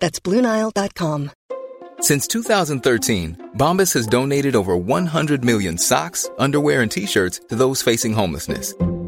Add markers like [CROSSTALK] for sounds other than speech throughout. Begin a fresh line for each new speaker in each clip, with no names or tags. That's BlueNile.com.
Since 2013, Bombas has donated over 100 million socks, underwear, and t shirts to those facing homelessness.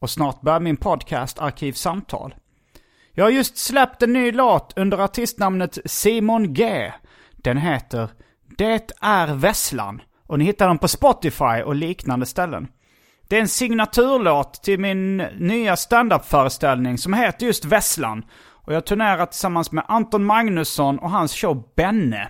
och snart börjar min podcast Arkivsamtal. Jag har just släppt en ny låt under artistnamnet Simon G. Den heter Det är Vesslan och ni hittar den på Spotify och liknande ställen. Det är en signaturlåt till min nya standup-föreställning som heter just Vesslan. Och jag turnerar tillsammans med Anton Magnusson och hans show Benne.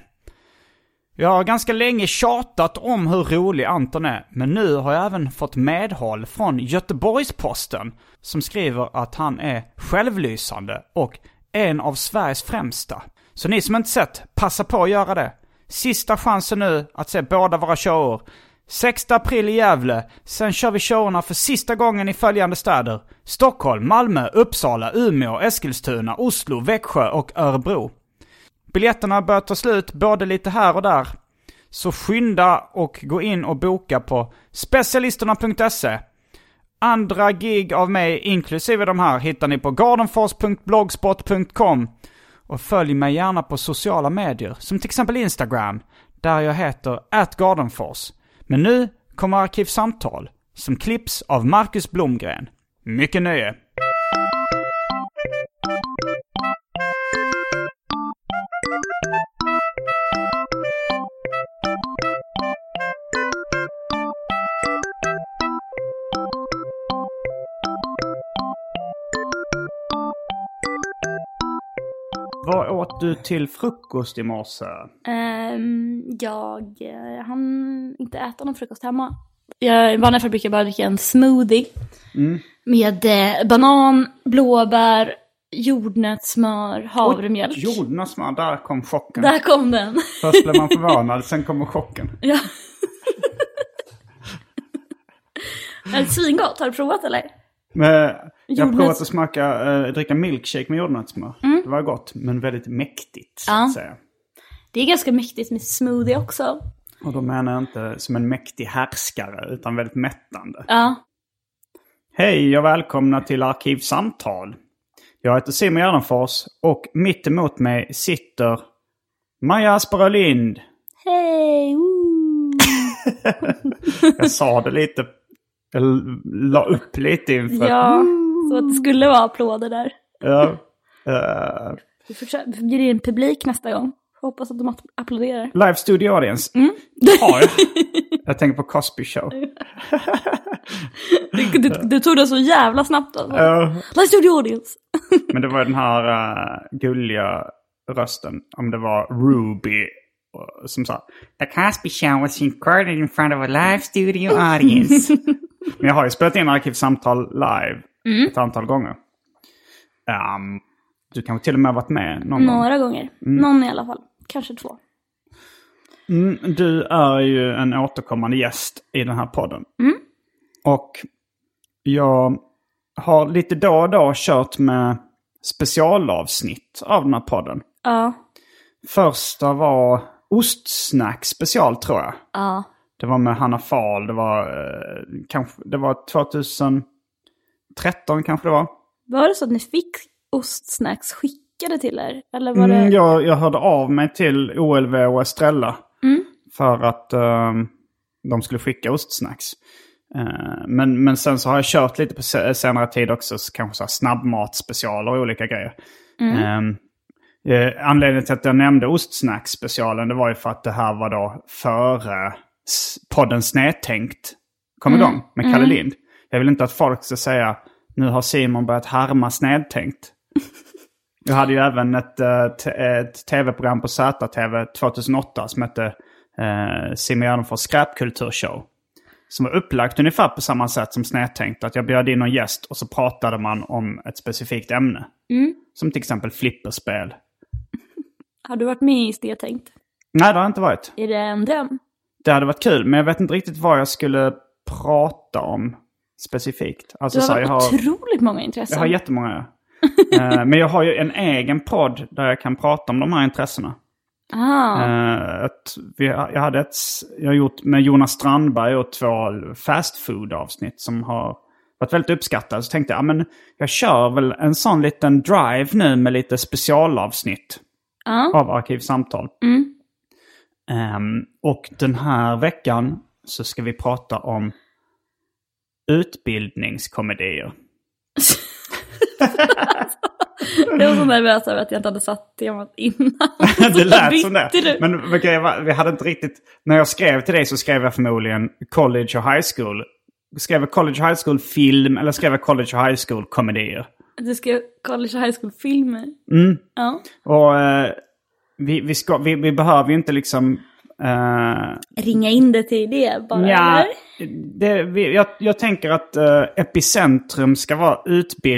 Jag har ganska länge tjatat om hur rolig Anton är, men nu har jag även fått medhåll från Göteborgs-Posten som skriver att han är självlysande och en av Sveriges främsta. Så ni som inte sett, passa på att göra det. Sista chansen nu att se båda våra shower. 6 april i Gävle, sen kör vi showerna för sista gången i följande städer. Stockholm, Malmö, Uppsala, Umeå, Eskilstuna, Oslo, Växjö och Örebro. Biljetterna börjar ta slut både lite här och där. Så skynda och gå in och boka på specialisterna.se. E. Andra gig av mig, inklusive de här, hittar ni på gardenfors.blogspot.com. Och följ mig gärna på sociala medier, som till exempel Instagram, där jag heter atgardenfors. Men nu kommer Arkivsamtal, som klipps av Marcus Blomgren. Mycket nöje! Vad åt du till frukost i morse?
Ehm, jag eh, hann inte äta någon frukost hemma. Jag, I vanliga fall brukar jag bara dricka en smoothie med eh, banan, blåbär, jordnötssmör, havremjölk.
Jordnötssmör, där kom chocken.
Där kom den. [LAUGHS]
Först blev man förvånad, sen kommer chocken.
ja. är det svingott? Har du provat eller?
Men eh, jag har
Jordnöts-
provat att smaka, eh, dricka milkshake med jordnötssmör. Det var gott, men väldigt mäktigt så
Mm. Ja.
att säga.
Det är ganska mäktigt med smoothie också.
Och då menar jag inte som en mäktig härskare, utan väldigt mättande.
Ja.
Hej och välkomna till Arkivsamtal. Jag heter Simon Gärdenfors och mitt emot mig sitter Maja Asperö Lind.
Hej! woo.
Jag sa det lite, jag la upp lite inför...
Ja, så att det skulle vara applåder där.
Ja. Eh,
Vi försöker vi bjuder in publik nästa gång. Hoppas att de app- applåderar.
live studio audience. Har jag. Jag tänker på Cosby show.
Du, du, du tog det så jävla snabbt alltså.
Ja.
Let's do the audience.
Men det var den här eh, gulliga rösten, om det var Ruby, eh, som sa The Cosby Show was recorded in front of a live studio audience. Men jag har ju spelat in Arkivsamtal live ett antal gånger. Ehm, du kanske till och med har varit med någon gång?
Några gånger. Någon i alla fall. Kanske två.
Mm, du är ju en återkommande gäst i den här podden.
Mm.
Och jag har lite då och då kört med specialavsnitt av den här podden.
Ja.
Första var ostsnack special tror jag.
Ja.
Det var med Hanna Fahl. Det var, eh, kanske, det var 2013 kanske det var.
Var det så att ni fick ostsnacks skickade till er? Eller var
Mm,
det...
jag, jag hörde av mig till OLV och Estrella.
Mm.
För att ehm, de skulle skicka ostsnacks. Eh, men, men sen så har jag kört lite
Mm.
på se- senare tid också. så Kanske så här snabbmat specialer och olika grejer. Ehm, Eh, anledningen till att jag nämnde Ostsnack-specialen det var ju för att det här var då före s- podden Snedtänkt kom
Mm.
igång med Kalle Lind. Jag vill inte att folk ska säga nu har Simon börjat härma Snedtänkt. Jag hade ju även ett, eh, t- ett tv-program på ZTV 2008 som hette eh, Simon Gärdenfors skräpkulturshow. Som var upplagt ungefär på samma sätt som Snedtänkt. Att jag bjöd in någon gäst och så pratade man om ett specifikt ämne.
Mm.
Som till exempel flipperspel.
Har du varit med i det tänkt?
Nej, det har inte varit.
Är det en dröm?
Det hade varit kul, men jag vet inte riktigt vad jag skulle prata om specifikt. Alltså,
Du har
så här, jag,
väl
har,
otroligt många intressen.
jag har
[LAUGHS]
jättemånga. Eh, men jag har ju en egen podd där jag kan prata om de här intressena.
ah,
Eh, att vi, jag hade ett, s- jag har gjort med Jonas Strandberg och två fast food avsnitt som har varit väldigt uppskattade. Så tänkte jag, ja, men jag kör väl en sån liten drive nu med lite specialavsnitt
Ja. Mm.
av Arkivsamtal. Ehm, och den här veckan så ska vi prata om utbildningskomedier.
jag var så nervös över att jag inte hade satt temat innan. [LAUGHS]
det lät som
Alltså, bytte
det.
du.
Men men grejen var, vi hade inte riktigt... När jag skrev till dig så skrev jag förmodligen college och high school. Skrev jag college och high school film eller skrev jag college och high school komedier?
Du skrev college och high school-filmer.
Mm.
Ja.
Och eh, vi, vi, ska, vi, vi behöver ju inte liksom... eh,
Ringa in det till det bara,
Ja,
eller?
det, vi- jag, jag tänker att eh, epicentrum ska vara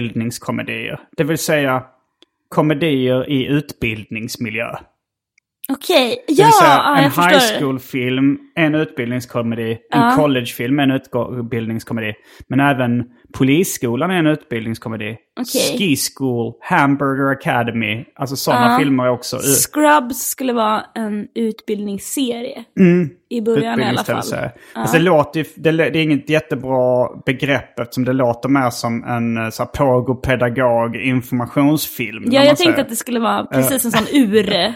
utbildningskomedier. Det vill säga komedier i utbildningsmiljö.
Okej,
Det
ja,
vill säga
ja,
en
jag förstår.
high school-film, en utbildningskomedi, en collegefilm, en utbildningskomedi. Men även Polisskolan är en utbildningskomedi.
Okej.
Ski School, Hamburger Academy. Alltså sådana filmer är också ut-
Scrubs skulle vara en utbildningsserie.
Mm.
I början i alla fall.
utbildningsställe. Alltså, det, låter, ju- det, det är inget jättebra begrepp eftersom det låter mer som en eh, så här, påg- pedagog informationsfilm. när
Ja,
man
jag tänkte
säger.
att det skulle vara precis en sån ur.
[LAUGHS]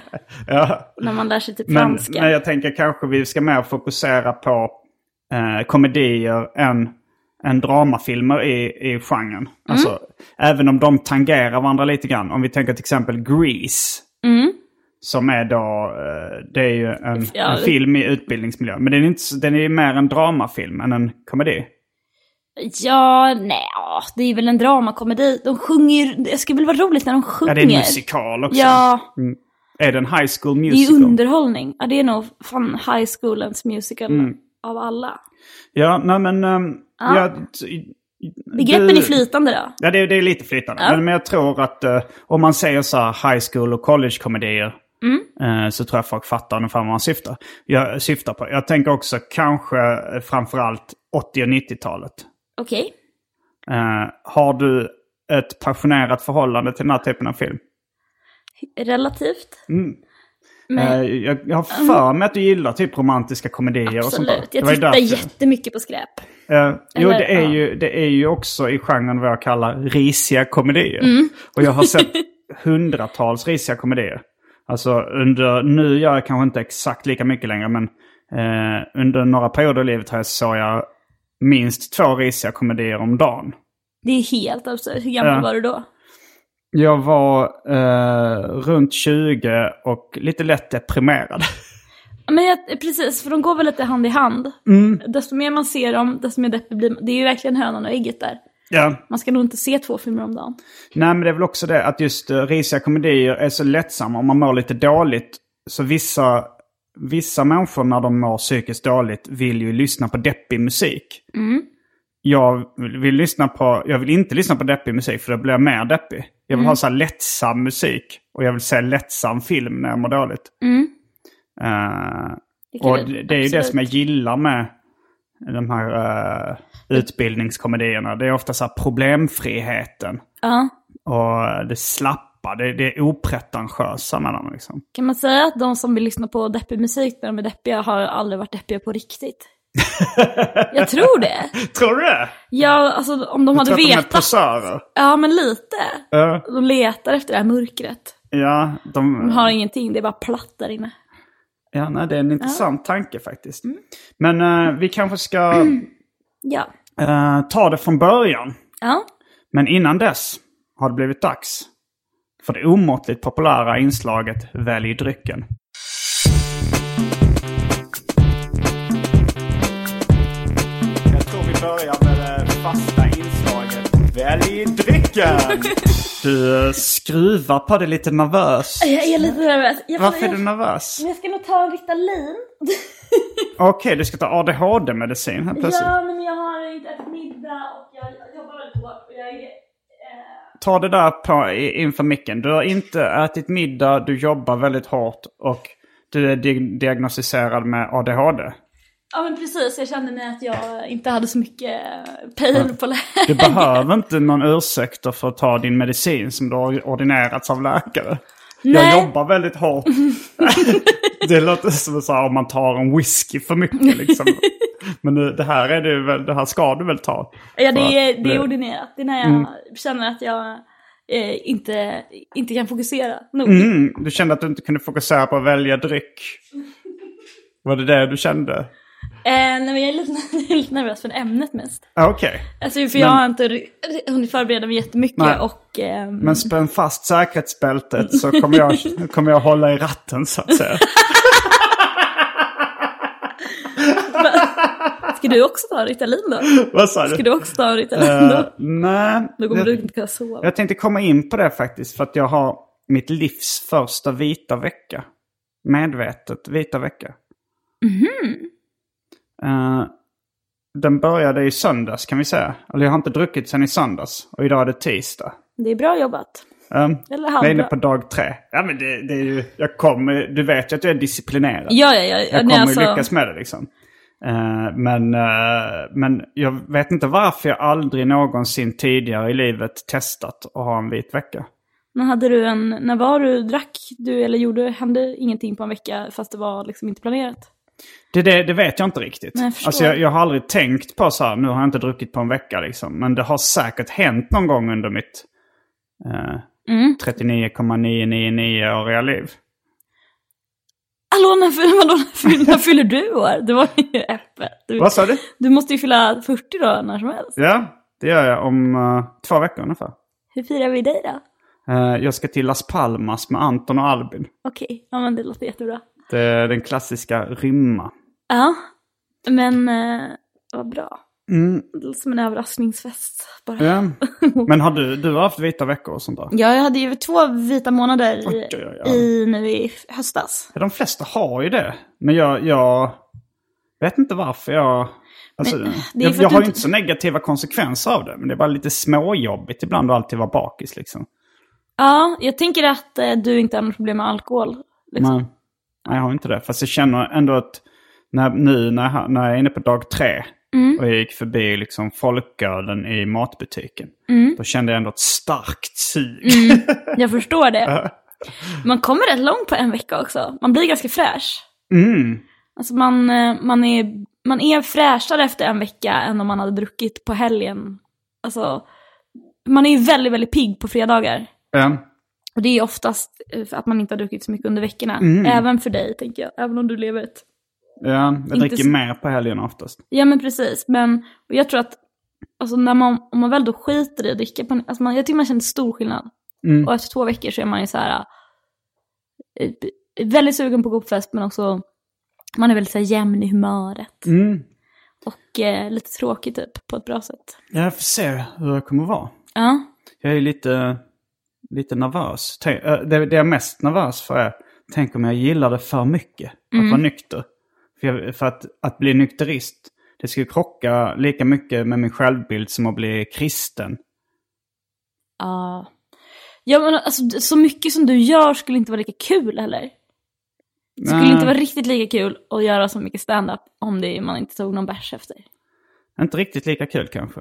När man lär sig typ
Men,
franska.
men jag tänker kanske vi ska mer fokusera på eh, komedier än, än dramafilmer i, i genren.
Mm.
Alltså, även om de tangerar varandra lite grann. Om vi tänker till exempel Grease. Som är då, eh, det är ju en,
Mm. Ja.
en film i utbildningsmiljö. Men den är, inte, så- den är ju mer en dramafilm än en komedi.
Ja, nej, ja, det är väl en dramakomedi. De sjunger ju- det skulle väl vara roligt när de sjunger.
Ja, det är en musikal också. Mm.
Ja,
Är det en high school
det är ju
musical?
underhållning. Ja, det är nog fan high schoolens musical
Mm.
av alla.
Ja, nej men... ehm, jag-
Begreppen
du-
är flytande då.
Ja, det, är- det är lite flytande. Men, men jag tror att eh, om man säger så här high school och college-komedier
Mm.
eh, så tror jag folk fattar ungefär vad man syftar, jag, syftar på. Jag tänker också kanske eh, framförallt 80 och 90-talet.
Okej.
Eh, har du ett passionerat förhållande till den här typen av film? Mm.
Relativt.
Eh, jag, jag har för mig att du gillar typ romantiska komedier och sånt där.
Absolut.
Det
Jag
var ju
tittar
därför-
jättemycket på skräp.
Eh, jo,
Eller,
det är,
ja.
ju, det är ju också i genren vad jag kallar risiga komedier.
Mm.
Och jag har
[LAUGHS]
sett hundratals risiga komedier. Alltså under, nu gör jag kanske inte exakt lika mycket längre, men eh, under några perioder i livet har jag såg jag minst två risiga komedier om dagen.
Det är helt absurt. Hur gammal
Ja.
var du då?
Jag var eh, runt 20 och lite lätt deprimerad. [LAUGHS]
Ja, Men jag, precis, för de går väl lite hand i hand.
Mm.
Desto mer man ser dem, desto mer deppig blir man. Det är ju verkligen hönan och ägget där.
ja.
Man ska nog inte se två filmer om dagen.
Nej, men det är väl också det att just uh, risiga komedier är så lättsamma. Om man mår lite dåligt så vissa, vissa människor när de mår psykiskt dåligt vill ju lyssna på deppig musik.
Mm.
Jag, vill, vill lyssna på, jag vill inte lyssna på deppig musik för då blir jag mer deppig. Jag
Mm.
vill ha så här lättsam musik och jag vill se lättsam film när jag mår dåligt. Eh,
Mm. Det kan
och
jag-
det, det är ju det
absolut.
som jag gillar med de här eh, utbildningskomedierna. Det är ofta så här problemfriheten.
Ja.
Och det slappa, det, det är opretentiösa med dem liksom.
Kan man säga att de som vill lyssna på deppig musik när de är deppiga har aldrig varit deppiga
[LAUGHS]
på riktigt? jag tror det.
Tror du det?
Ja, alltså om de hade
Tror att de är
vetat.
posörer?
Ja, men lite. De letar efter det här mörkret.
Ja, de,
De har ingenting, det är bara platt där inne.
ja nej, det är en intressant tanke faktiskt.
Mm.
Men eh, vi kanske ska
Ja.
eh, ta det från början.
Ja.
Men innan dess har det blivit dags för det omåttligt populära inslaget Välj drycken. Jag tror vi börjar med det fasta inslaget Välj drycken! [LAUGHS] Du eh, skruvar på det lite nervös.
Jag är lite nervös. Jag,
Varför är
jag,
du nervös?
jag ska nog ta en Ritalin.
Okej, du ska ta ADHD-medicin här plötsligt.
ja, men jag har inte ätit middag och jag jobbar väldigt hårt. Och jag är...
Ta det där på, i- inför micken. Du har inte ätit middag, du jobbar väldigt hårt och du är di- diagnostiserad med ADHD.
Ja men precis, jag kände mig att jag inte hade så mycket eh, pejl på
Du
läget.
behöver inte någon ursäkt då för att ta din medicin som du har ordinerats av läkare. Jag
Nej.
jobbar väldigt hårt. [LAUGHS] det låter som så här, om man tar en whisky för mycket liksom. Men det det här, är det, väl, det här ska du väl ta?
Ja det
För
är,
att
det är
bli-
ordinerat, det är när jag
Mm.
känner att jag eh, inte, inte kan fokusera nog.
Mm, du kände att du inte kunde fokusera på att välja dryck. Var det det du kände?
Eh, nej, men jag är lite, [LAUGHS] jag är lite nervös för ämnet mest.
Ah, Okej.
Alltså, för jag har inte ri- hunnit förbereda mig jättemycket
Nej.
och... ehm,
Men spänn fast säkerhetsbältet så kommer jag, kommer jag hålla i ratten så att
[LAUGHS]
säga.
Ska du också ta Ritalin då?
Vad sa du?
Ska du också ta Ritalin
Eh,
då?
nej.
Då kommer
jag,
du inte kunna sova.
jag tänkte komma in på det faktiskt för att jag har mitt livs första vita vecka. Medvetet vita vecka.
Mhm.
Eh, den började i söndags kan vi säga. Eller jag har inte druckit sen i söndags. Och idag är det tisdag.
Det är bra jobbat.
Um,
Eller
jag är inne
halvbra.
på dag tre. Ja men det, det är ju, jag kommer, du vet ju att jag är disciplinerad.
Ja, ja, ja.
Jag
nej,
kommer
alltså-
ju lyckas med det liksom. Eh, men, eh, men jag vet inte varför jag aldrig någonsin tidigare i livet testat att ha en vit vecka.
Men hade du en, när var du, drack du eller gjorde, hände ingenting på en vecka fast det var liksom inte planerat?
Det, det, det vet jag inte riktigt.
Nej, jag förstår.
alltså jag, jag har aldrig tänkt på så här, nu har jag inte druckit på en vecka liksom. Men det har säkert hänt någon gång under mitt eh,
Mm.
39,999-åriga liv.
Hallå, när, fyller- [LAUGHS] vadå, när, fyller- när fyller du år? Det var ju öppet. Du,
Vad sa du?
du måste ju fylla 40 då när som helst.
Ja, det gör jag om eh, två veckor ungefär.
Hur firar vi dig då?
Eh, jag ska till Las Palmas med Anton och Albin.
Okej, ja men det låter jättebra.
Det är den klassiska rymma.
Ja, men eh, vad bra.
Mm,
Det låter som en överraskningsfest bara. Ja.
Ja.
[LAUGHS]
Men har du, du har haft vita veckor och sånt där?
jag hade ju två vita månader i,
Oj, oj, oj.
i, nu i höstas.
Ja, De flesta har ju det. Men jag, jag vet inte varför jag... Alltså,
Men, eh, det är
jag
för att
jag
du
har ju
inte-
inte så negativa konsekvenser av det. Men det är bara lite småjobbigt ibland att alltid vara bakis liksom.
Ja, jag tänker att eh, du inte har något problem med alkohol. Liksom.
Men, nej, jag har inte det. Fast jag känner ändå att när, nu när jag, när jag är inne på dag tre
Mm.
och jag gick förbi liksom folkölen i matbutiken.
Mm.
Då kände jag ändå ett starkt sug.
Jag förstår det. Man kommer rätt långt på en vecka också. Man blir ganska fräsch.
Mm.
Alltså man, eh, man, är, man är fräschare efter en vecka än om man hade druckit på helgen. Alltså, man är ju väldigt, väldigt pigg på fredagar.
Ja.
Och det är oftast eh, för att man inte har druckit så mycket under veckorna. Även för dig, tänker jag. Även om du lever ett...
Ja, jag dricker
så-
mer på helgen oftast.
Ja, men precis. Men och jag tror att alltså, när man, om man väl då skiter i att dricka, på, en- alltså, man, jag tycker man känner stor skillnad.
Mm.
Och efter två veckor så är man ju så här eh, väldigt sugen på att gå på fest, men också man är väldigt så här, jämn i humöret.
Mm.
Och eh, lite tråkig typ, på ett bra sätt.
Ja, Jag får se hur jag kommer vara.
Ja.
Jag är lite, lite nervös. Tänk, äh, det, det jag är mest nervös för är, tänk om jag gillar det för mycket. Att
Mm.
vara nykter. För, jag, för att, att bli nykterist, det skulle krocka lika mycket med min självbild som att bli kristen.
Ja. Ja men alltså så mycket som du gör skulle inte vara lika kul heller. Det skulle
Nej.
inte vara riktigt lika kul att göra så mycket stand-up om det man inte tog någon bärs efter.
Inte riktigt lika kul kanske.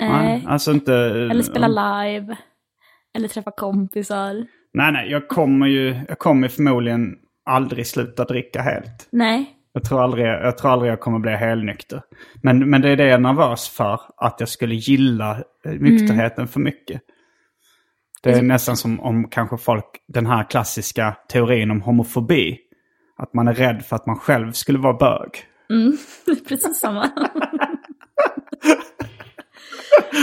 Nej.
alltså inte...
Eller spela live. Eller träffa kompisar.
Nej, nej, jag kommer ju jag kommer förmodligen aldrig sluta dricka helt.
Nej.
Jag tror aldrig jag, tror aldrig jag kommer bli helnykter. Men, men det är det jag är nervös för, att jag skulle gilla eh, nykterheten för mycket. Det
Alltså-
är nästan som om kanske folk, den här klassiska teorin om homofobi. Att man är rädd för att man själv skulle vara
[LAUGHS]
bög.
Precis samma. [LAUGHS]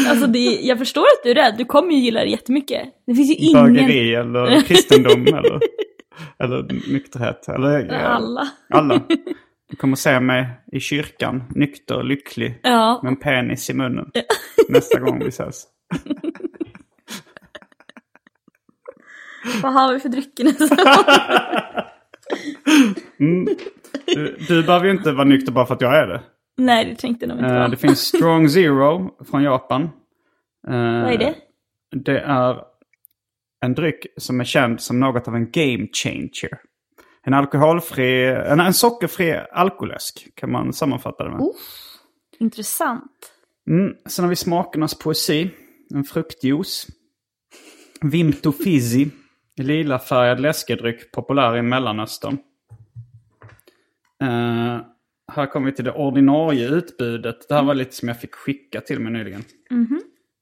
Alltså det, jag förstår att du är rädd, du kommer ju gilla det jättemycket. Det finns ju ingen...
Bögeri
[LAUGHS]
eller kristendom eller, eller nykterhet. Eller,
Alla.
alla. Du kommer se mig i kyrkan, nykter, lycklig,
Ja.
med en penis i munnen. Nästa gång vi ses.
Vad har vi för drycker nästa
[LAUGHS] Du, du behöver ju inte vara nykter bara för att jag är det.
Nej, det tänkte nog inte
Eh,
vara.
det finns Strong Zero från Japan. Eh,
Vad är det?
Det är en dryck som är känd som något av en game changer. En alkoholfri, en, en sockerfri alkoläsk kan man sammanfatta det med.
Intressant.
Mm, sen har vi smakernas poesi. En fruktjuice. Vimto Fizzy. Lilafärgad läskedryck populär i Mellanöstern. Eh, här kommer vi till det ordinarie utbudet. Det här var lite som jag fick skicka till mig nyligen.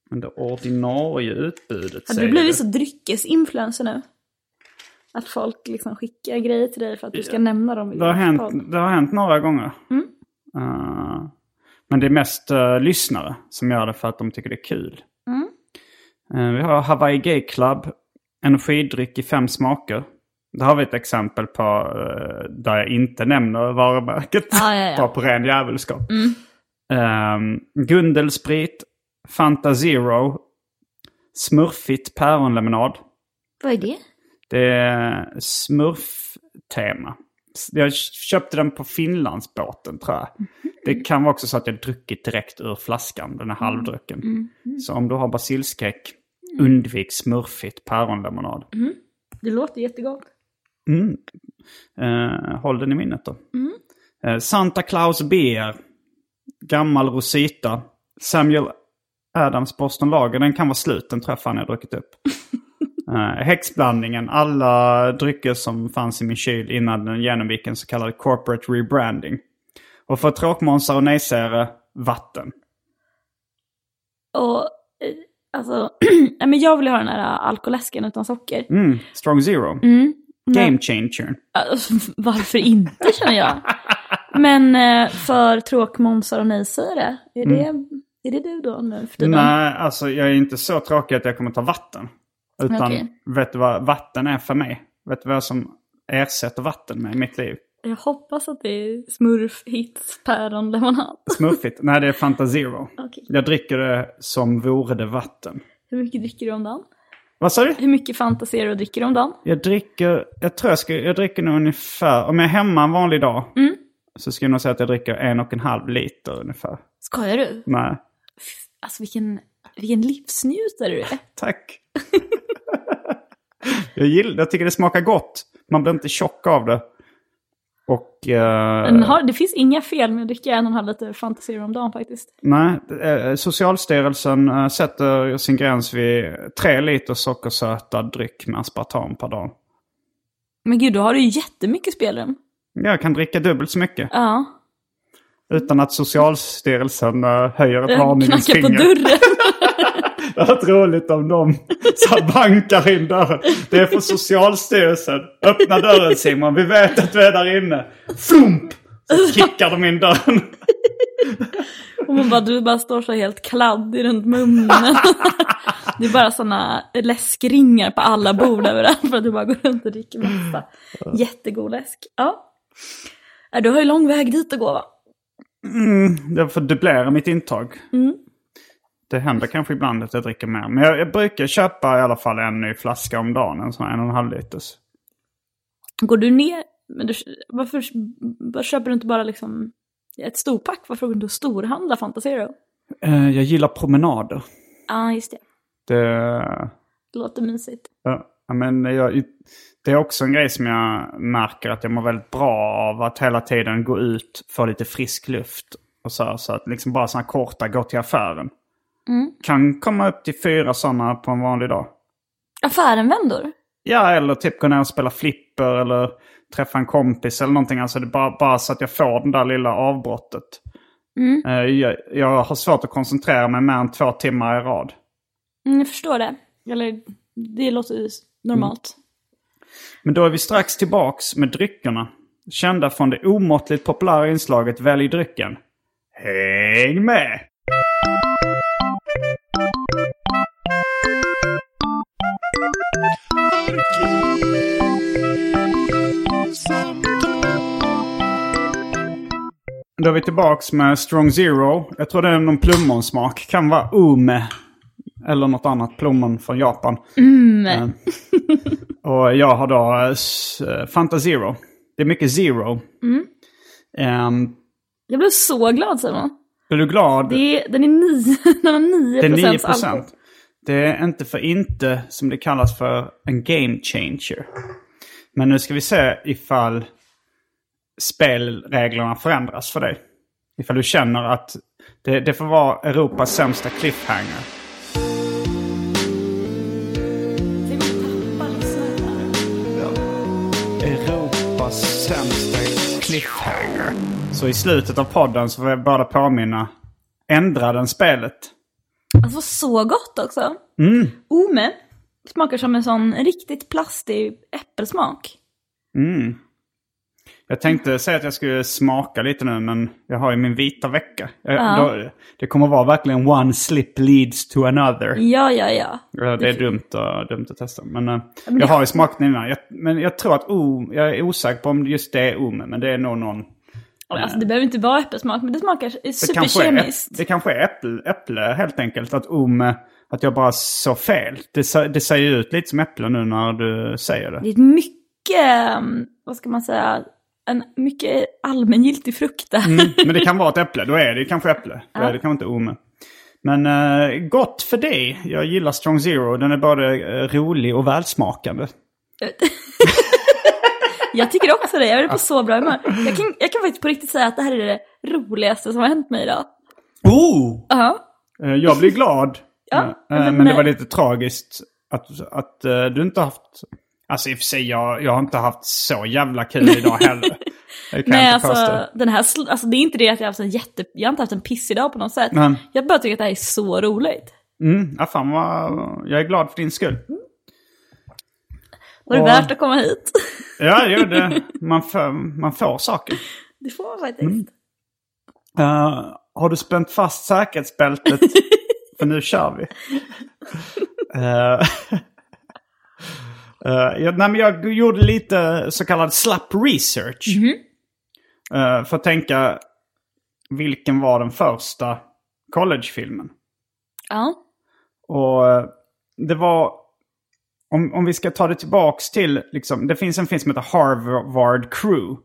Men det ordinarie utbudet
Har
säger
Mhm. du blivit
det.
så dryckesinfluencer nu? Att folk liksom skickar grejer till dig för att du ska nämna dem i
Det har,
din
hänt,
podd.
det har hänt några gånger.
Mm.
Eh, men det är mest eh, lyssnare som gör det för att de tycker det är kul.
Mm.
Eh, vi har Hawaii Gay Club, energidryck i fem smaker. Där har vi ett exempel på eh, där jag inte nämner varumärket.
Ja, ja,
[LAUGHS]
ja.
Bara på ren djävulskap. Mm. Gundelsprit, Fanta Zero, Smurfigt päronlemonad.
Vad är det?
Det är smurftema. Jag köpte den på Finlandsbåten tror jag. Det kan vara också så att jag druckit direkt ur flaskan, den här halvdrucken. Så om du har basilskräck, undvik smurfigt päronlemonad.
Det låter jättegott.
Mm. Eh, håll den i minnet då. Eh, Santa Claus Beer, Gammal Rosita, Samuel Adams Boston Lager. Den kan vara slut, den tror jag fan jag har druckit upp. Eh, häxblandningen, alla drycker som fanns i min kyl innan den genomgick en så kallad corporate rebranding. Och för tråkmånsar och nejsägare, vatten.
Och eh, alltså, [CLEARS THROAT] nej men jag vill ju ha den här alkoläsken utan socker.
Mm, strong zero. Game changer.
Alltså, varför inte känner jag. Men eh, för tråkmånsar och nejsägare, är, det, är det du då nu för tiden?
Nej, alltså jag är inte så tråkig att jag kommer ta vatten. Utan
Okej.
vet du vad vatten är för mig? Vet du vad som ersätter vatten med i mitt liv?
Jag hoppas att det är smurf, hits, päron, lemonad.
Smuffigt? Nej, det är Fanta Zero.
Okej.
Jag dricker det som vore det vatten.
Hur mycket dricker du om dagen?
Vad sa du?
Hur mycket fantaserar du dricker du om dagen?
Jag dricker, jag tror jag ska, jag dricker nog ungefär, om jag är hemma en vanlig dag.
Mm.
Så ska jag nog säga att jag dricker en och en halv liter ungefär.
Skojar du?
Nej,
Alltså vilken, vilken livsnjutare du är.
tack. [LAUGHS] jag gillar, jag tycker det smakar gott. Man blir inte tjock av det. Och... eh,
Men har, det finns inga fel med att dricka en och en halv liter fantaserar om dagen faktiskt.
Nej, eh, Socialstyrelsen eh, sätter sin gräns vid tre liter sockersötad dryck med aspartam per dag.
Men gud, då har du ju jättemycket spelrum.
Jag kan dricka dubbelt så mycket
Ja.
utan att Socialstyrelsen eh, höjer ett varningens
Knacka på
finger.
dörren.
Det hade varit roligt om de [LAUGHS] så här bankar in dörren. Det är från Socialstyrelsen. Öppna dörren Simon, vi vet att du är där inne. Flump! Så kickar de in dörren.
Och man bara, du bara står så helt kladdig runt [LAUGHS] munnen. Det är bara sådana läskringar på alla bord överallt för att du bara går runt och dricker massa jättegod läsk. Ja. Ja, Du har ju lång väg dit att gå va?
Jag får dubblera mitt intag. Det händer kanske ibland att jag dricker mer. Men jag, jag brukar köpa i alla fall en ny flaska om dagen. En sån här en och en halv liters.
Går du ner, men du, varför, varför köper du inte bara liksom ett storpack? Varför går du inte och storhandlar Fantasero?
Eh, jag gillar promenader.
Ja, ah, just det.
Det,
Det låter mysigt.
ja, ja, men jag, det är också en grej som jag märker att jag mår väldigt bra av. Att hela tiden gå ut, få lite frisk luft. Och så, här, så att liksom bara sådana korta, gå till affären. Kan komma upp till fyra sådana på en vanlig dag.
Affärenvändor?
Ja, eller typ gå ner och spela flipper eller träffa en kompis eller någonting. Alltså det är bara, bara så att jag får det där lilla avbrottet. Eh, Jag, jag har svårt att koncentrera mig mer än två timmar i rad.
Mm, jag förstår det. Eller, det låter ju normalt.
Men då är vi strax tillbaks med dryckerna. Kända från det omåttligt populära inslaget Välj drycken. Häng med! Då är vi tillbaks med Strong Zero. Jag tror det är någon plommonsmak. Kan vara ume. Eller något annat plommon från Japan. Eh, och jag har då eh, s- eh, Fanta Zero. Det är mycket Zero.
Mm.
Ehm,
Jag blev så glad Simon.
är du glad?
Det är, den är 9, [LAUGHS] den har 9
Det är 9
alkohol.
Det är inte för inte som det kallas för en game changer. Men nu ska vi se ifall spelreglerna förändras för dig. Ifall du känner att det, det får vara Europas sämsta cliffhanger.
Simon tappar lyssnaren.
Europas sämsta cliffhanger. Så i slutet av podden så får jag bara påminna. Ändra den spelet.
Alltså så gott också. Mm. Ome smakar som en sån riktigt plastig äppelsmak.
Mm. Jag tänkte säga att jag skulle smaka lite nu, men jag har ju min vita vecka. Jag- Då, det kommer vara verkligen one slip leads to another.
Ja, ja, ja.
Ja, Det är dumt, att- dumt att testa. Men, eh, jag har ju smakat den innan. Jag, men jag tror att o, jag är osäker på om just det är omen, men det är nog någon...
Alltså det behöver inte vara äppelsmak, men det smakar
Det kanske är, äpp-
superkemiskt.
det kanske är äpple, äpple helt enkelt. Att om att jag bara sa fel. Det, sa- det ser ju ut lite som äpple nu när du säger det.
Det är ett mycket, um, vad ska man säga, en mycket allmängiltig frukt där.
Men det kan vara ett äpple. Då är det kanske äpple. Då är det kanske inte ome. Men eh, gott för dig. Jag gillar Strong Zero. Den är både eh, rolig och välsmakande.
[LAUGHS] Jag tycker också det, jag är på så bra humör. Jag kan, jag kan faktiskt på riktigt säga att det här är det roligaste som har hänt mig idag.
Oh!
Ja,
jag blir glad.
Ja,
Eh, eh,
men-
men det var lite tragiskt att, att eh, du inte haft... Alltså i och för sig, jag, jag har inte haft så jävla kul idag
[LAUGHS]
heller. Det kan
Nej
jag inte påstå.
alltså, den här, sl- alltså det är inte det att jag har haft en jätte, jag har inte haft en pissig dag på något sätt.
Men-
Jag bara tycker att det här är så roligt.
Mm, ja, fan vad... Jag är glad för din skull.
Var det
Och-
värt att komma hit? [LAUGHS]
Ja, jo, det, man, får, man får saker.
Det får man faktiskt.
Mm. Eh, har du spänt fast säkerhetsbältet? För nu kör vi. Eh, [LAUGHS] eh, jag, nej, men jag gjorde lite så kallad slapp research. Eh, för att tänka, vilken var den första collegefilmen?
Ja.
Och eh, det var, om, om vi ska ta det tillbaks till, liksom, det finns en film som heter Harvard Crew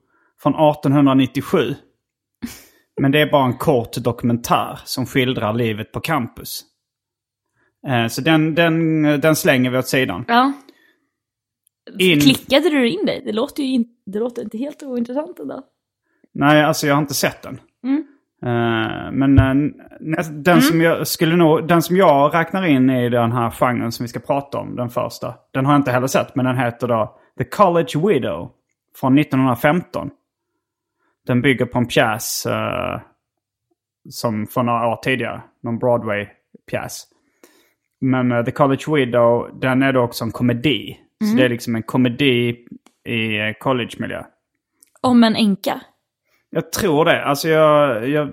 från 1897. Men det är bara en kort dokumentär som skildrar livet på campus. Eh, Så den, den, den slänger vi åt sidan.
ja.
In-
Klickade du in dig? Det låter ju in, det låter inte helt ointressant ändå.
Nej, alltså jag har inte sett den. Eh, men eh, nä- den, som jag skulle nog, den som jag räknar in i den här genren som vi ska prata om, den första. Den har jag inte heller sett, men den heter då The College Widow från 1915. Den bygger på en pjäs eh, som från några år tidigare, någon Broadway-pjäs. Men eh, The College Widow, den är då också en komedi. Så det är liksom en komedi i eh, college-miljö.
Om en änka.
Jag tror det. Alltså jag, jag,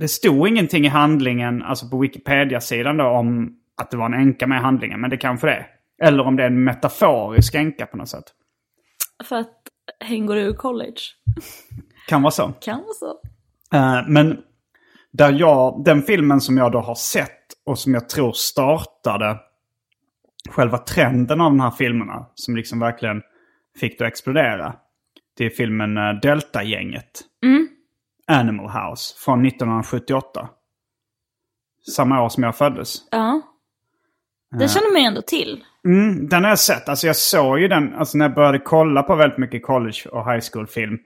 det stod ingenting i handlingen, alltså på Wikipedia-sidan då, om att det var en änka med i handlingen. Men det kanske det är. Eller om det är en metaforisk änka på något sätt.
För att hen går ur college.
Kan vara så.
Kan vara så.
Eh, men där jag, den filmen som jag då har sett och som jag tror startade själva trenden av de här filmerna, som liksom verkligen fick det att explodera. Det är filmen eh, Delta-gänget. Animal House från 1978. Samma år som jag föddes.
Ja. Det känner man ju ändå till.
Mm, den har jag sett. Alltså jag såg ju den, alltså när jag började kolla på väldigt mycket college och high school-film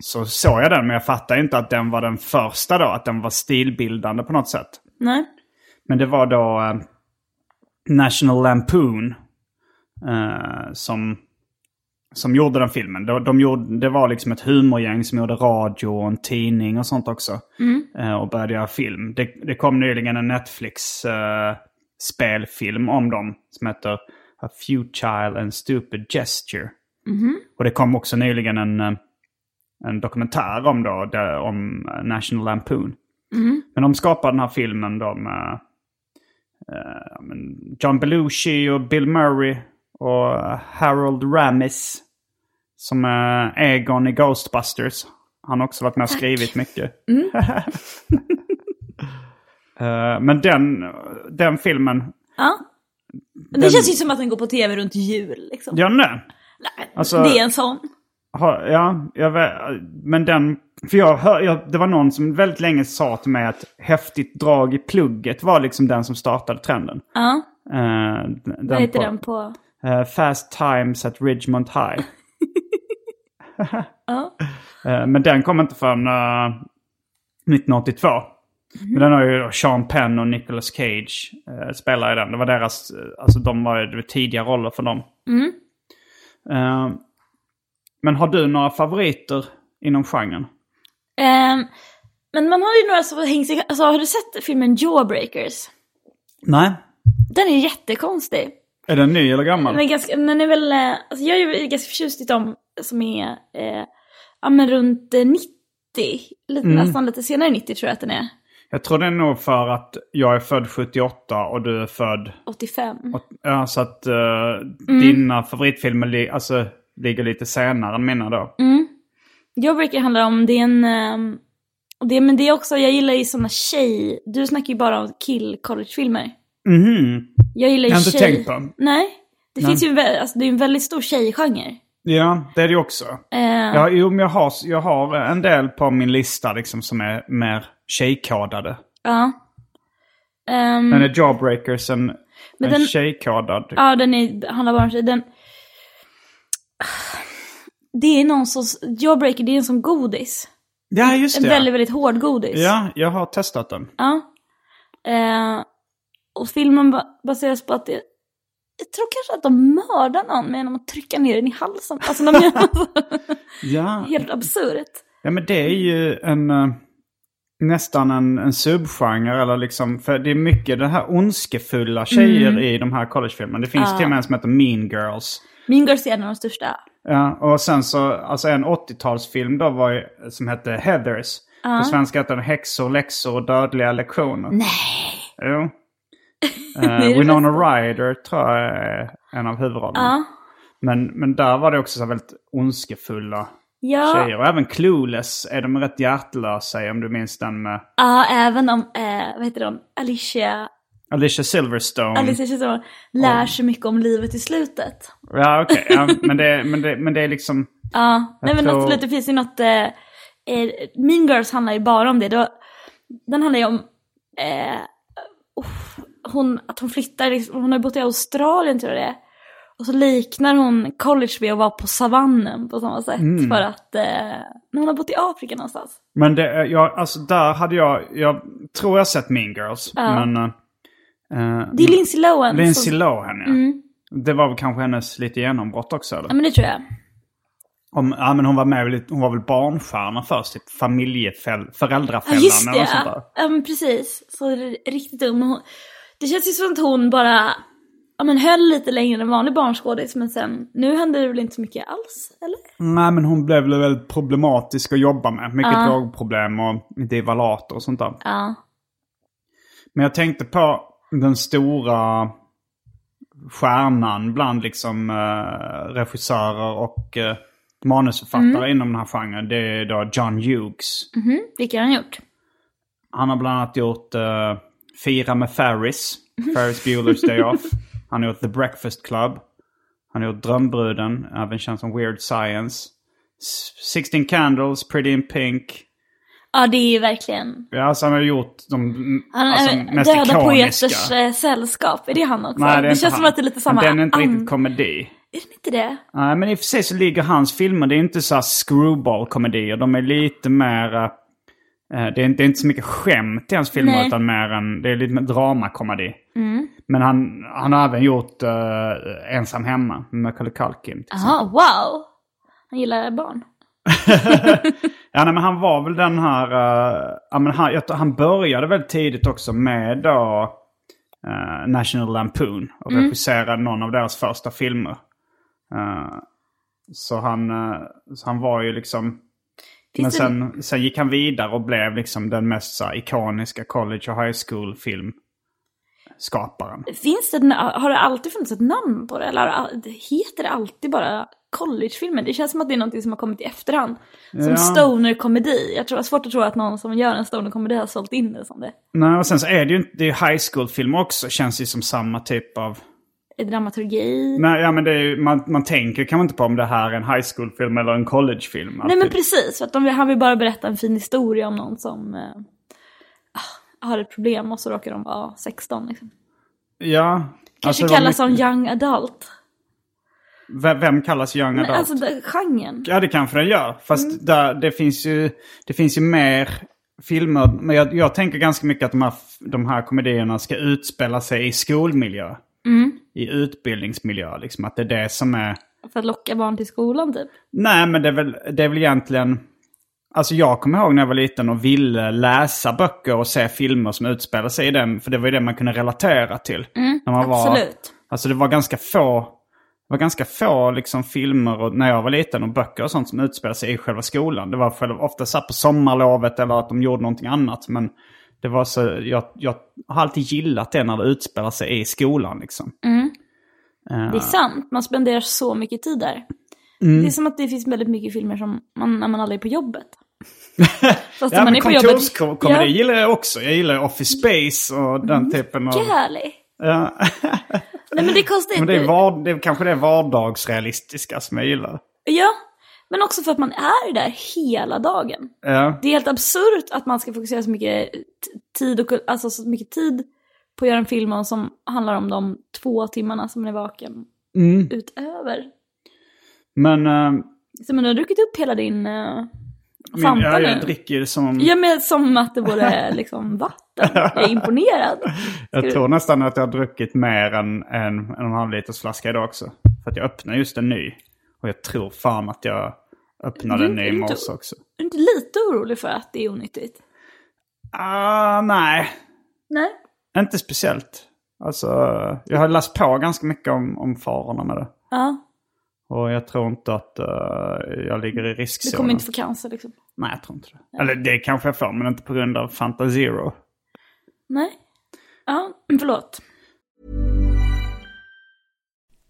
så såg jag den, men jag fattade inte att den var den första då, att den var stilbildande på något sätt.
Nej.
Men det var då eh, National Lampoon eh, som, som gjorde den filmen. De, de gjorde, det var liksom ett humorgäng som gjorde radio och en tidning och sånt också. Eh, och började göra film. Det, det kom nyligen en Netflix-spelfilm om dem som heter A Futile and Stupid Gesture. Och det kom också nyligen en, eh, en dokumentär om, då, där, om eh, National Lampoon. Men de skapade den här filmen då med eh, ja, men John Belushi och Bill Murray och Harold Ramis. Som är Egon i Ghostbusters. Han har också varit med och skrivit mycket.
Mm.
[LAUGHS] Eh, men den, den filmen,
Ja. Det
Den-
känns ju som att den går på tv runt jul liksom.
ja nej. Alltså-
Det är en sån.
Har- Ja, jag, vä- men den... För jag hör, jag, det var någon som väldigt länge sa till mig att häftigt drag i plugget var liksom den som startade trenden.
Ja.
Eh, d-
Vad heter
på-
den på?
Eh, Fast Times at Ridgemont High. [LAUGHS]
Ja.
Eh, men den kom inte förrän eh, 1982. Men den har ju då Sean Penn och Nicolas Cage eh, spelar i den. Det var deras, eh, alltså de var ju det var tidiga roller för dem. Eh, men har du några favoriter inom genren?
Ehm, men man har ju några som hängs i... Alltså har du sett filmen Jawbreakers?
Nej.
Den är jättekonstig.
Är den ny eller gammal?
Men ganska, den är väl, eh, alltså jag är ju ganska förtjust i dem som är, eh, ja men runt eh, 90. Lite,
Mm.
Nästan lite senare 90 tror jag att den är.
Jag tror det är nog för att jag är född 78 och du är född...
85.
Ja, så att eh,
Mm.
dina favoritfilmer li- alltså, ligger lite senare än mina då.
Jawbreaker handlar om, det är en, ehm, och det, men det är också, jag gillar ju sådana tjej, du snackar ju bara om kill collegefilmer.
Mhm.
Jag gillar ju
Jag har inte
tjej.
tänkt på den.
Nej. Det finns ju en, vä- alltså, det är en väldigt stor tjejgenre.
Ja, det är det ju också.
Eh,
Ja, jo, men jag har, jag har eh, en del på min lista liksom, som är mer tjejkodade.
ja. Ehm,
Men är Jawbreakers en, en
den-
tjejkodad?
Ja, den är, handlar bara om sig. Den... Det är någon som, Jawbreaker, det är en som godis.
Ja, just
En
det.
väldigt, väldigt hård godis.
Ja, jag har testat den.
Ja. Eh, och filmen ba- baseras på att det, jag tror kanske att de mördar någon med genom att trycka ner den i halsen. Alltså de gör
Ja,
helt absurt.
ja men det är ju en... eh, Nästan en, en subgenre eller liksom, för det är mycket det här ondskefulla tjejer
Mm.
i de här collegefilmerna. Det finns till och med en som heter Mean Girls.
Mean Girls är en av de största.
Ja, och sen så, alltså en 80-talsfilm då var ju, som hette Heathers. På svenska heter den Häxor, läxor och dödliga lektioner. Nej! Jo.
[LAUGHS] det
Uh, Winona Ryder tror jag är en av huvudrollerna.
Ja.
Men, men där var det också så här väldigt ondskefulla
Ja,
tjejer. Och även Clueless är de rätt hjärtlösa i, om du minns den med
ja även om, eh, vad heter hon, Alicia,
Alicia Silverstone.
Alicia Keys
Mm.
lär sig mycket om livet i slutet.
Ja, okej. ja, men, det, men, det, men det är liksom...
Ja, nej men
tror-
absolut, det finns ju något... Eh, eh, mean Girls handlar ju bara om det. det var, den handlar ju om eh, uff, hon, att hon flyttar, liksom, hon har ju bott i Australien tror jag det är. Och så liknar hon college vid att vara på savannen på samma sätt.
Mm.
För att eh, när hon har bott i Afrika någonstans.
Men det, är- jag, alltså där hade jag, jag tror jag sett Mean Girls. Men... eh, eh,
Det är Lindsay Lohan.
Lindsay
som,
Lohan, ja. Det var väl kanske hennes lite genombrott också, eller?
Ja men det tror jag.
Om, ja, men hon, var med, i lite- hon var väl barnstjärna först, typ familjefäll,
Ja
föräldrafällan
just
eller något sånt
det,
där.
ja men precis. Så det är riktigt dum. Hon, det känns ju som att hon bara ja, men höll lite längre än en vanlig barnskådis men sen, nu händer det väl inte så mycket alls eller?
Nej, men hon blev väl väldigt problematisk att jobba med. Mycket drogproblem och divalater och sånt där.
Ja.
Men jag tänkte på den stora stjärnan bland liksom eh, regissörer och eh, manusförfattare
Mm.
inom den här genren. Det är då John Hughes.
Vilka har han gjort?
Han har bland annat gjort eh, Fira med Ferris,
Mm.
Ferris Bueller's
[LAUGHS]
Day Off. Han har gjort The Breakfast Club. Han har gjort Drömbruden, även känd som Weird Science. S- 16 Candles, Pretty in Pink.
Ja det är ju verkligen,
Ja, alltså han har gjort de mm,
han
alltså,
är
mest
Döda
ikoniska.
Poeters eh, sällskap, är det han också?
Nej, det, är inte
känns som
han.
att det är lite samma
Men Den är inte
an-
riktigt komedi.
Är det inte det?
Nej, men i och för sig så ligger hans filmer, det är inte så här screwball-komedier. De är lite mer... eh, det, är inte, det är inte så mycket skämt i hans filmer,
Nej. Mm.
utan mer en... Det är lite mer dramakomedi. Men han, han har även gjort eh, Ensam hemma med Macaulay Culkin.
Jaha, wow! Han gillar barn.
Ja, nej, men han var väl den här... eh, ja, men han, jag, tror han började väldigt tidigt också med då, eh, National Lampoon och
Mm.
regisserade någon av deras första filmer. Eh, så, han, eh, så han var ju liksom... Men
Finns det-
sen, sen gick han vidare och blev liksom den mest så här, ikoniska college och high school-filmskaparen.
Finns det, har det alltid funnits ett namn på det? Eller har det all- heter det alltid bara collegefilmer. Det känns som att det är någonting som har kommit i efterhand. Som stoner-komedi. Jag tror det är svårt att tro att någon som gör en stoner-komedi har sålt in det som det.
Nej, och sen så är det ju inte, det är ju high school-filmer också. Känns ju som samma typ av...
I Dramaturgi.
Nej, ja, men det är ju, man, man tänker kanske inte på om det här är en high school-film eller en college-film.
Nej men
alltid.
precis, för att de, han vill bara berätta en fin historia om någon som eh, ah, har ett problem och så råkar de vara 16 liksom.
Ja.
Kanske
det var
kallas som
mycket-
young adult.
Vem, vem kallas young adult?
Men, alltså det, Mm. genren.
Ja, det kanske den gör. Fast där, det, finns ju, det finns ju mer filmer. Men jag, jag tänker ganska mycket att de här, de här komedierna ska utspela sig i skolmiljö.
Mm.
I utbildningsmiljö, liksom. Att det är det som är...
För att locka barn till skolan typ.
Nej, men det är väl, det är väl egentligen... Alltså jag kommer ihåg när jag var liten och ville läsa böcker och se filmer som utspelar sig i den. För det var ju det man kunde relatera till. när man
Mm, absolut.
Var, alltså det var ganska få, det var ganska få liksom filmer och, när jag var liten och böcker och sånt som utspelade sig i själva skolan. Det var själv, ofta så här på sommarlovet eller att de gjorde någonting annat. Men det var så, jag, jag har alltid gillat det när det utspelar sig i skolan liksom.
Mm, Det är sant, man spenderar så mycket tid där.
Mm.
Det är som att det finns väldigt mycket filmer som man, när man aldrig är på jobbet.
[LAUGHS]
Fast när
Ja,
man
men
är på jobbet.
kontorskomedi gillar jag också. Jag gillar Office Space och
Mm.
den typen av...
Mycket härlig.
Ja.
Nej men det kostar
Men
inte.
det är, var, det är kanske det vardagsrealistiska som jag gillar.
Ja, men också för att man är där hela dagen.
Ja.
Det är helt absurt att man ska fokusera så mycket t- tid, och, alltså så mycket tid på att göra en film om- som handlar om de två timmarna som man är vaken
Mm.
utöver.
Men... eh,
Så men du har druckit upp hela din uh,
min,
Fanta
ja, jag
nu.
dricker ju som...
Ja men som att
[LAUGHS]
det vore liksom vatten. Jag är imponerad.
jag tror nästan att jag har druckit mer än en, en och en halv liters flaska idag också. För att jag öppnar just en ny. Och jag tror fan att jag öppnade en
Du-
ny i
du-
morse också.
Är du inte lite orolig för att det är onyttigt?
Ah, nej.
Nej.
Inte speciellt. Alltså, jag har läst på ganska mycket om, om farorna med det.
Ja,
Och jag tror inte att eh, jag ligger i riskzonen.
du kommer inte få cancer liksom.
Nej, jag tror inte det. Eller det kanske jag får, men inte på grund av Fanta Zero.
Nej. Ja, [CLEARS THROAT] förlåt.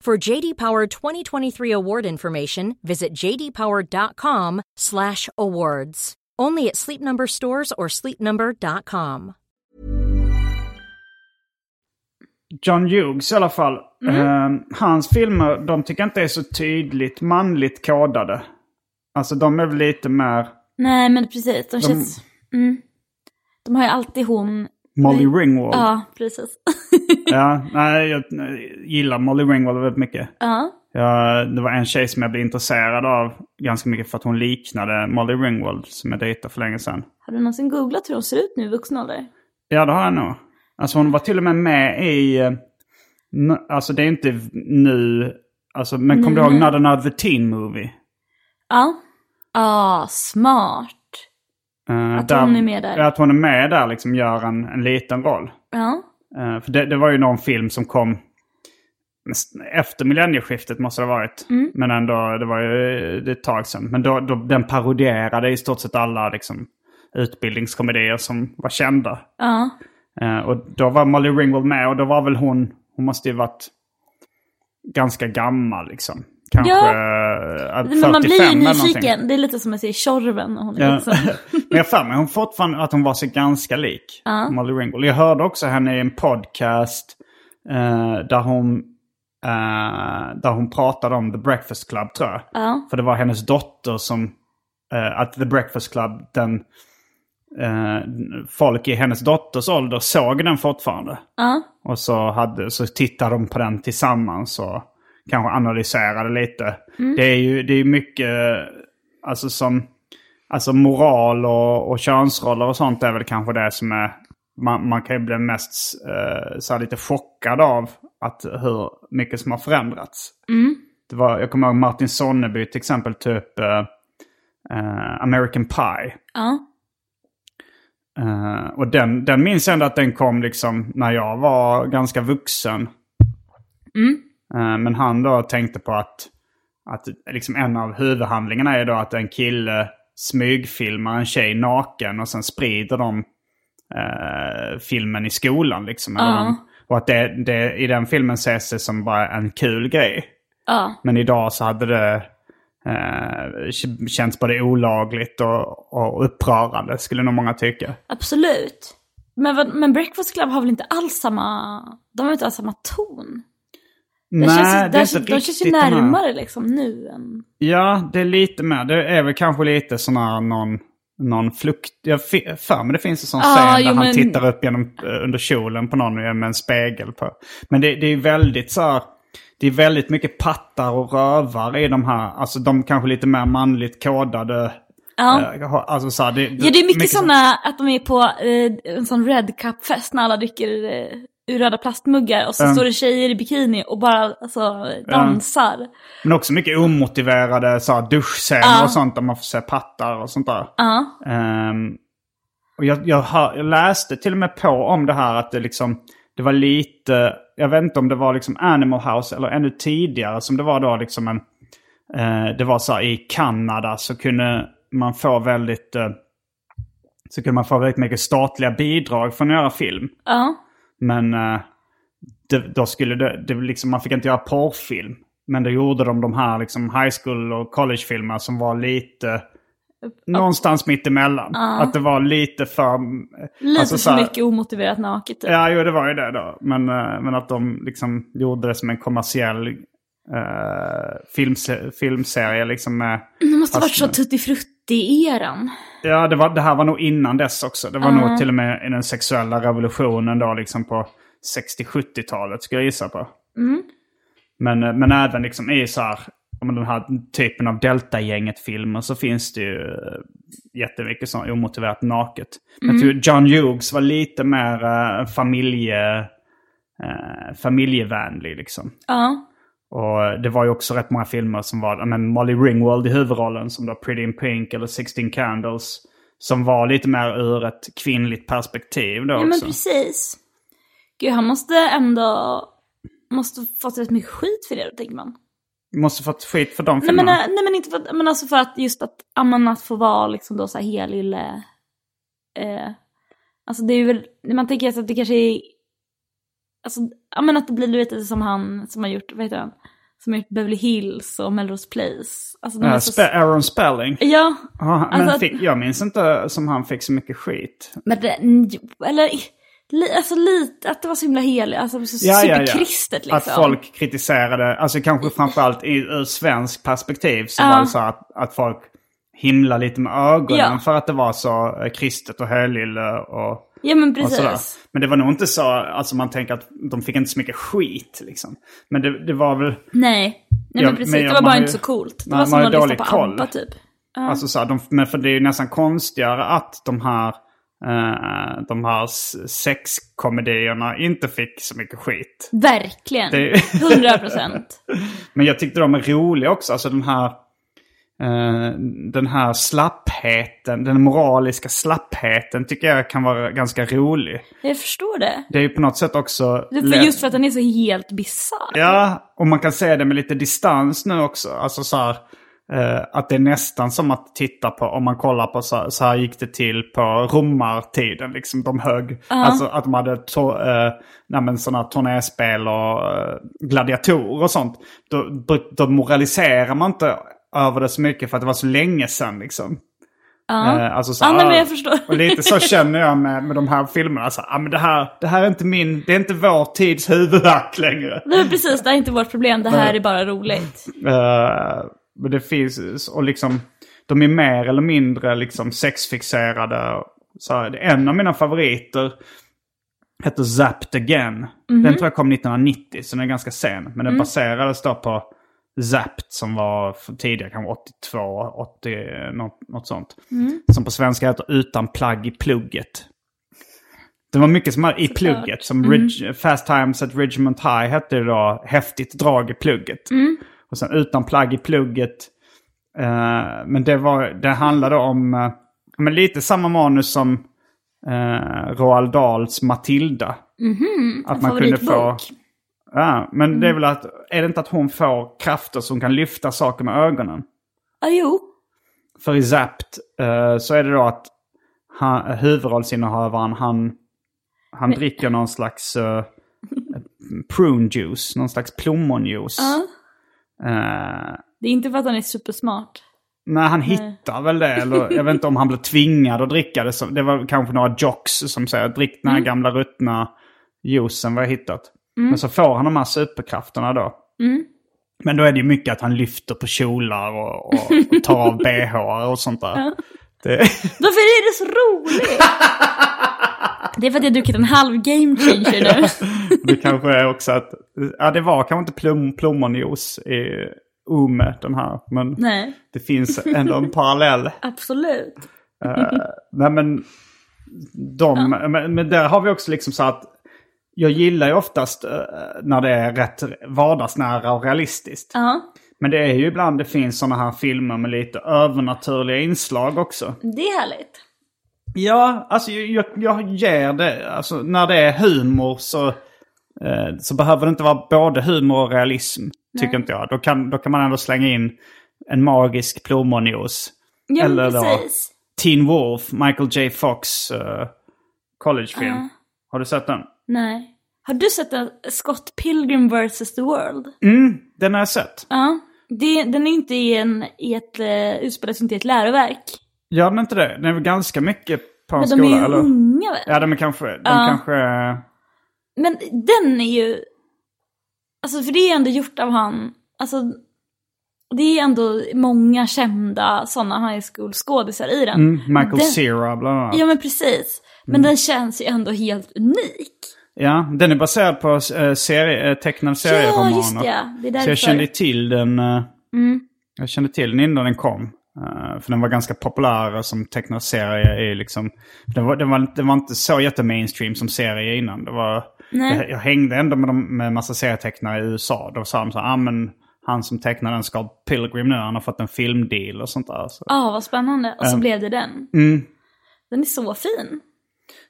For JD Power 2023 award information, visit jdpower.com/awards. Only at Sleep Number stores or sleepnumber.com.
John Hughes i alla fall. Eh, hans filmer, de tycker jag inte är så tydligt manligt kodade. Alltså de är väl lite mer
Nej men precis, de känns... Mm. De har ju alltid hon...
Molly Ringwald.
Ja, precis. [LAUGHS]
Ja, nej, jag gillar Molly Ringwald väldigt mycket.
Ja.
Ja, det var en tjej som jag blev intresserad av ganska mycket för att hon liknade Molly Ringwald som jag dejtade för länge sedan.
Har du någonsin googlat hur de ser ut nu i vuxen ålder?
Ja, det har jag nog. Alltså hon var till och med med i... eh, n- Alltså det är inte nu... Alltså, men kommer du ihåg Not Another Teen Movie?
Ja. Ah, smart.
Eh,
Att hon är med där.
ja, Att hon är med där liksom gör en, en liten roll.
Ja.
Eh, för det, det var ju någon film som kom näst- efter millennieskiftet måste det ha varit.
Mm.
Men ändå, det var ju eh, det är ett tag sedan. Men då, då, den parodierade i stort sett alla liksom, utbildningskomedier som var kända.
Ja.
Eh, och då var Molly Ringwald med och då var väl hon, hon måste ju varit ganska gammal liksom. Kanske ja. 45
Men man blir ju
eller någonting.
nyfiken. Det är lite som man ser Tjorven när hon är
Ja.
liksom.
[LAUGHS] Men jag har för mig hon fortfarande att hon var så ganska lik Molly Ringwald. Jag hörde också henne i en podcast eh, där, hon, eh, där hon pratade om The Breakfast Club tror jag. För det var hennes dotter som... eh, att The Breakfast Club, den... eh, folk i hennes dotters ålder såg den fortfarande. Och så, hade, så tittade de på den tillsammans och kanske analyserade lite. Det är ju det är ju mycket... Alltså som... Alltså moral och, och könsroller och sånt är väl kanske det som är... Man, man kan ju bli mest eh, så här lite chockad av att hur mycket som har förändrats. Det var, jag kommer ihåg Martin Sonneby till exempel, typ eh, eh, American Pie.
Ja.
Eh, och den, den minns jag ändå att den kom liksom när jag var ganska vuxen. Eh, men han då tänkte på att, att liksom en av huvudhandlingarna är då att en kille smygfilmar en tjej naken och sen sprider de eh, filmen i skolan. Liksom, eller de, och att det, det, i den filmen ses det som bara en kul grej. Men idag så hade det eh, k- känts både olagligt och, och upprörande skulle nog många tycka.
Absolut. Men, vad- men Breakfast Club har väl inte alls samma... De har inte alls samma ton. Det känns, ju-
det är
det känns-
inte
de känns ju
riktigt den här-
närmare liksom nu än...
Ja, det är lite mer. Det är väl kanske lite sån här någon, någon flukt... Jag fi- för mig det finns en sån
Ah,
scen
jo,
där han
men-
tittar upp genom, eh, under kjolen på någon med en spegel på. Men det, det är väldigt så här... Det är väldigt mycket pattar och rövar i de här, alltså de kanske lite mer manligt kodade.
Ja.
eh, ha- alltså så här, det,
Ja, det är mycket
sån-
sådana att de är på eh, en sån Red Cup-fest när alla dricker eh, ur röda plastmuggar och så
Ja.
står det tjejer i bikini och bara alltså, dansar.
Men också mycket omotiverade så här, duschscener och sånt där man får se pattar och sånt där. Ehm, och jag, jag, hör, jag läste till och med på om det här att det liksom, det var lite, jag vet inte om det var liksom Animal House eller ännu tidigare som det var då liksom en, eh, det var så här i Kanada så kunde man få väldigt, eh, så kunde man få väldigt mycket statliga bidrag för att göra film. Men eh, det, då skulle det, det var liksom, man fick inte göra porrfilm. Men då gjorde de de här liksom high school och collegefilmerna som var lite någonstans mitt emellan. Att det var lite för...
Lite
alltså så
för
här-
mycket omotiverat naket. typ.
Ja, jo, det var ju det då. Men, eh, men att de liksom gjorde det som en kommersiell eh, filmse- filmserie. Liksom med,
Det måste ha varit så
fast-
Tutti Frutti-eran.
Ja, det, var, det här var nog innan dess också. Det var nog till och med i den sexuella revolutionen då, liksom på 60-70-talet skulle jag gissa på. Men, eh, men även liksom i så här, om den här typen av Delta-gänget-filmer så finns det ju eh, jättemycket sånt omotiverat naket. Men jag tror John Hughes var lite mer eh, familje, eh, familjevänlig liksom.
Ja.
Och eh, det var ju också rätt många filmer som var, ja, men Molly Ringwald i huvudrollen som då Pretty in Pink eller 16 Candles. Som var lite mer ur ett kvinnligt perspektiv då
ja, men
också.
precis. Gud, han måste ändå... Måste fått rätt mycket skit för det, tänker man.
Måste fått skit för de
Nej men,
filmerna.
eh, nej men inte för att, men alltså för att just att, ja, men att få vara liksom då så här helylle. Eh, alltså det är väl, man tänker alltså att det kanske är, alltså ja men att det blir du vet lite som han som har gjort, vad heter han? Som har gjort Beverly Hills och Melrose Place. Alltså de
Eh,
är så,
Spe- Aaron Spelling.
ja,
Ja, men
alltså-
fick, jag minns inte som han fick så mycket skit.
men det, jo, eller li, alltså lite, att det var så himla helig, alltså så superkristet liksom.
Att folk kritiserade, alltså kanske framförallt i, ur svensk perspektiv så var det så att, att folk himla lite med ögonen
Ja.
för att det var så eh, kristet och helylle och
Ja men
Och sådär.
precis.
Men det var nog inte så, alltså man tänker att de fick inte så mycket skit liksom. Men det, det var väl,
Nej. Nej
Ja,
men precis,
men
det
man
var
har
bara
ju-
inte så coolt. Det
man-
var
man
som
har
att
ju
lyssna
dålig
på
koll.
ABBA typ.
alltså så här, de, men för det är ju nästan konstigare att de här, eh, de här s- sexkomedierna inte fick så mycket skit.
Verkligen.
Det-
Hundra procent.
[LAUGHS] Men jag tyckte de är roliga också, alltså den här, eh, den här slappheten, den moraliska slappheten tycker jag kan vara ganska rolig.
Jag förstår det.
Det är ju på något sätt också...
Det är för
lätt-
just för att den är så helt bisarr.
Ja, och man kan se det med lite distans nu också. Alltså så här, eh, att det är nästan som att titta på, om man kollar på så här, så här gick det till på romartiden, liksom de högg. Alltså att de hade to- eh, nej, men såna här turnéspel och eh, gladiatorer och sånt. Då, bru- då moraliserar man inte över det så mycket för att det var så länge sedan liksom. Eh, alltså så
Ja,
här,
nej, men jag förstår.
Och lite så känner jag med, med de här filmerna. Så här, ah, men det, här, det här är inte min, det är inte vår tids huvudvärk längre.
Nej men precis, det här är inte vårt problem. Det här är bara roligt.
Eh, Men det finns, och liksom, de är mer eller mindre liksom sexfixerade. Så här, en av mina favoriter heter Zapped Again. Den tror jag kom 1990, så den är ganska sen. Men den baserades då på Zapped som var för tidigare, kanske 82, 80, något, något sånt. Som på svenska heter Utan plagg i plugget. Det var mycket som här i plugget. Som Ridge, Fast Times at Ridgemont High hette det då. Häftigt drag i plugget. Och sen utan plagg i plugget. Eh, men det, var, det handlade om eh, men lite samma manus som eh, Roald Dahls Matilda. att man kunde få...
favoritbok.
Ja, men det är väl att, är det inte att hon får krafter som kan lyfta saker med ögonen?
Ja, Ah, jo.
För i Zapped eh, så är det då att han, huvudrollsinnehavaren han, han dricker någon slags eh, prune juice, någon slags plommonjuice. Eh,
Det är inte för att han är supersmart.
Nej, han hittar väl det. Eller, jag vet inte om han blev tvingad att dricka det. Så, det var kanske några jocks som säger drick den här gamla ruttna juicen vi har hittat. Men så får han de här superkrafterna då. Men då är det ju mycket att han lyfter på kjolar och, och, och tar av bh och sånt där. Det,
Varför är det
[LAUGHS]
så roligt? Det är för att jag druckit en halv game changer nu.
[LAUGHS] det kanske är också att... Ja, det var kanske inte plom, plommonjuice i Ume den här. Men
Nej,
det finns ändå en parallell.
absolut.
Nej men, de, men, men där har vi också liksom så att jag gillar ju oftast eh, när det är rätt vardagsnära och realistiskt.
Ja,
Men det är ju ibland det finns sådana här filmer med lite övernaturliga inslag också.
det är härligt.
Ja, alltså jag, jag, jag ger det. Alltså, när det är humor så, eh, så behöver det inte vara både humor och realism. Tycker inte jag. Då kan, då kan man ändå slänga in en magisk plommonjuice.
Ja,
Eller
men
då-
precis.
Teen Wolf, Michael J. Fox eh, collegefilm. Har du sett den?
Nej. Har du sett en Scott Pilgrim vs. The World?
Mm, den har jag sett.
Ja. Det, den är inte i en, i ett, eh, utspelas inte i ett läroverk.
Gör den inte det? Den är väl ganska mycket på en
Men de
skola?
är ju
eller?
unga väl?
Ja, de är kanske... De kanske eh,
Men den är ju... Alltså för det är ändå gjort av han... Alltså det är ändå många kända sådana high school-skådisar i den.
mm, Michael Mm.
Den-
Cera bland annat.
Ja men precis. Men den känns ju ändå helt unik.
Ja, den är baserad på eh, serie, eh, tecknade serieromaner.
Ja just det, ja. det
Så
är därför.
jag kände till den... eh, Jag kände till den innan den kom. Eh, för den var ganska populär som tecknad serie. I liksom, den, var, den, var, den var inte så jättemainstream som serie innan. Det var, jag, jag hängde ändå med, dem, med massa serietecknare i USA. Då sa de så här, ah, men han som tecknar den ska Pilgrim nu, han har fått en filmdeal och sånt där. Så.
Ja vad spännande. Och så blev det den.
Mm.
Den är så fin.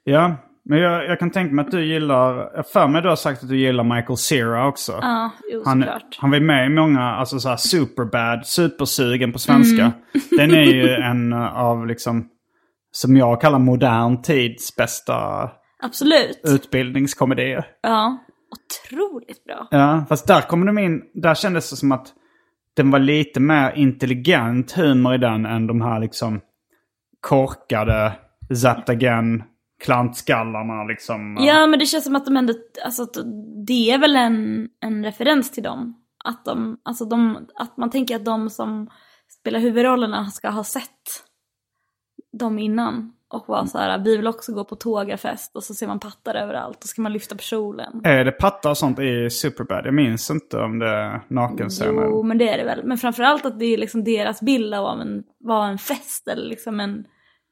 Ja, men jag, jag kan tänka mig att du gillar, jag har för mig du har sagt att du gillar Michael Cera också.
Ja, jo
Han,
såklart.
han var ju med i många, alltså så här superbad, supersugen på svenska.
Mm.
[LAUGHS] Den är ju en av liksom, som jag kallar modern tids bästa
Absolut.
Mm. utbildningskomedier.
Ja. Otroligt bra.
Ja, fast där kommer de in, där kändes det som att den var lite mer intelligent humor i den än de här liksom korkade Zapped Again klantskallarna liksom.
Ja men det känns som att de ändå, alltså att det är väl en, en referens till dem. Att, de, alltså de, att man tänker att de som spelar huvudrollerna ska ha sett dem innan. Och var så här, vi vill också gå på tågafest och så ser man pattar överallt och så ska man lyfta på kjolen.
Är det patta och sånt i Superbad? Jag minns inte om det är nakenscener.
Jo, men det är det väl. Men framförallt att det är liksom deras bild av vad en, vad en fest eller liksom en,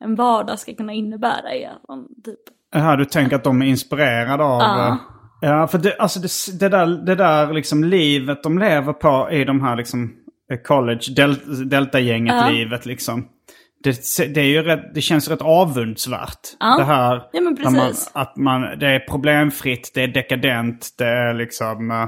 en vardag ska kunna innebära. Är att man typ
Jaha, du tänker att de är inspirerade av...
Ja.
eh, Ja, för det, alltså det, det, där, det där liksom livet de lever på i de här liksom eh, college, del, delta-gänget-livet liksom. Det, det, är ju rätt, det känns rätt avundsvärt. Det här
Ja, men
när man,
precis.
att man, det är problemfritt, det är dekadent, det är liksom... eh,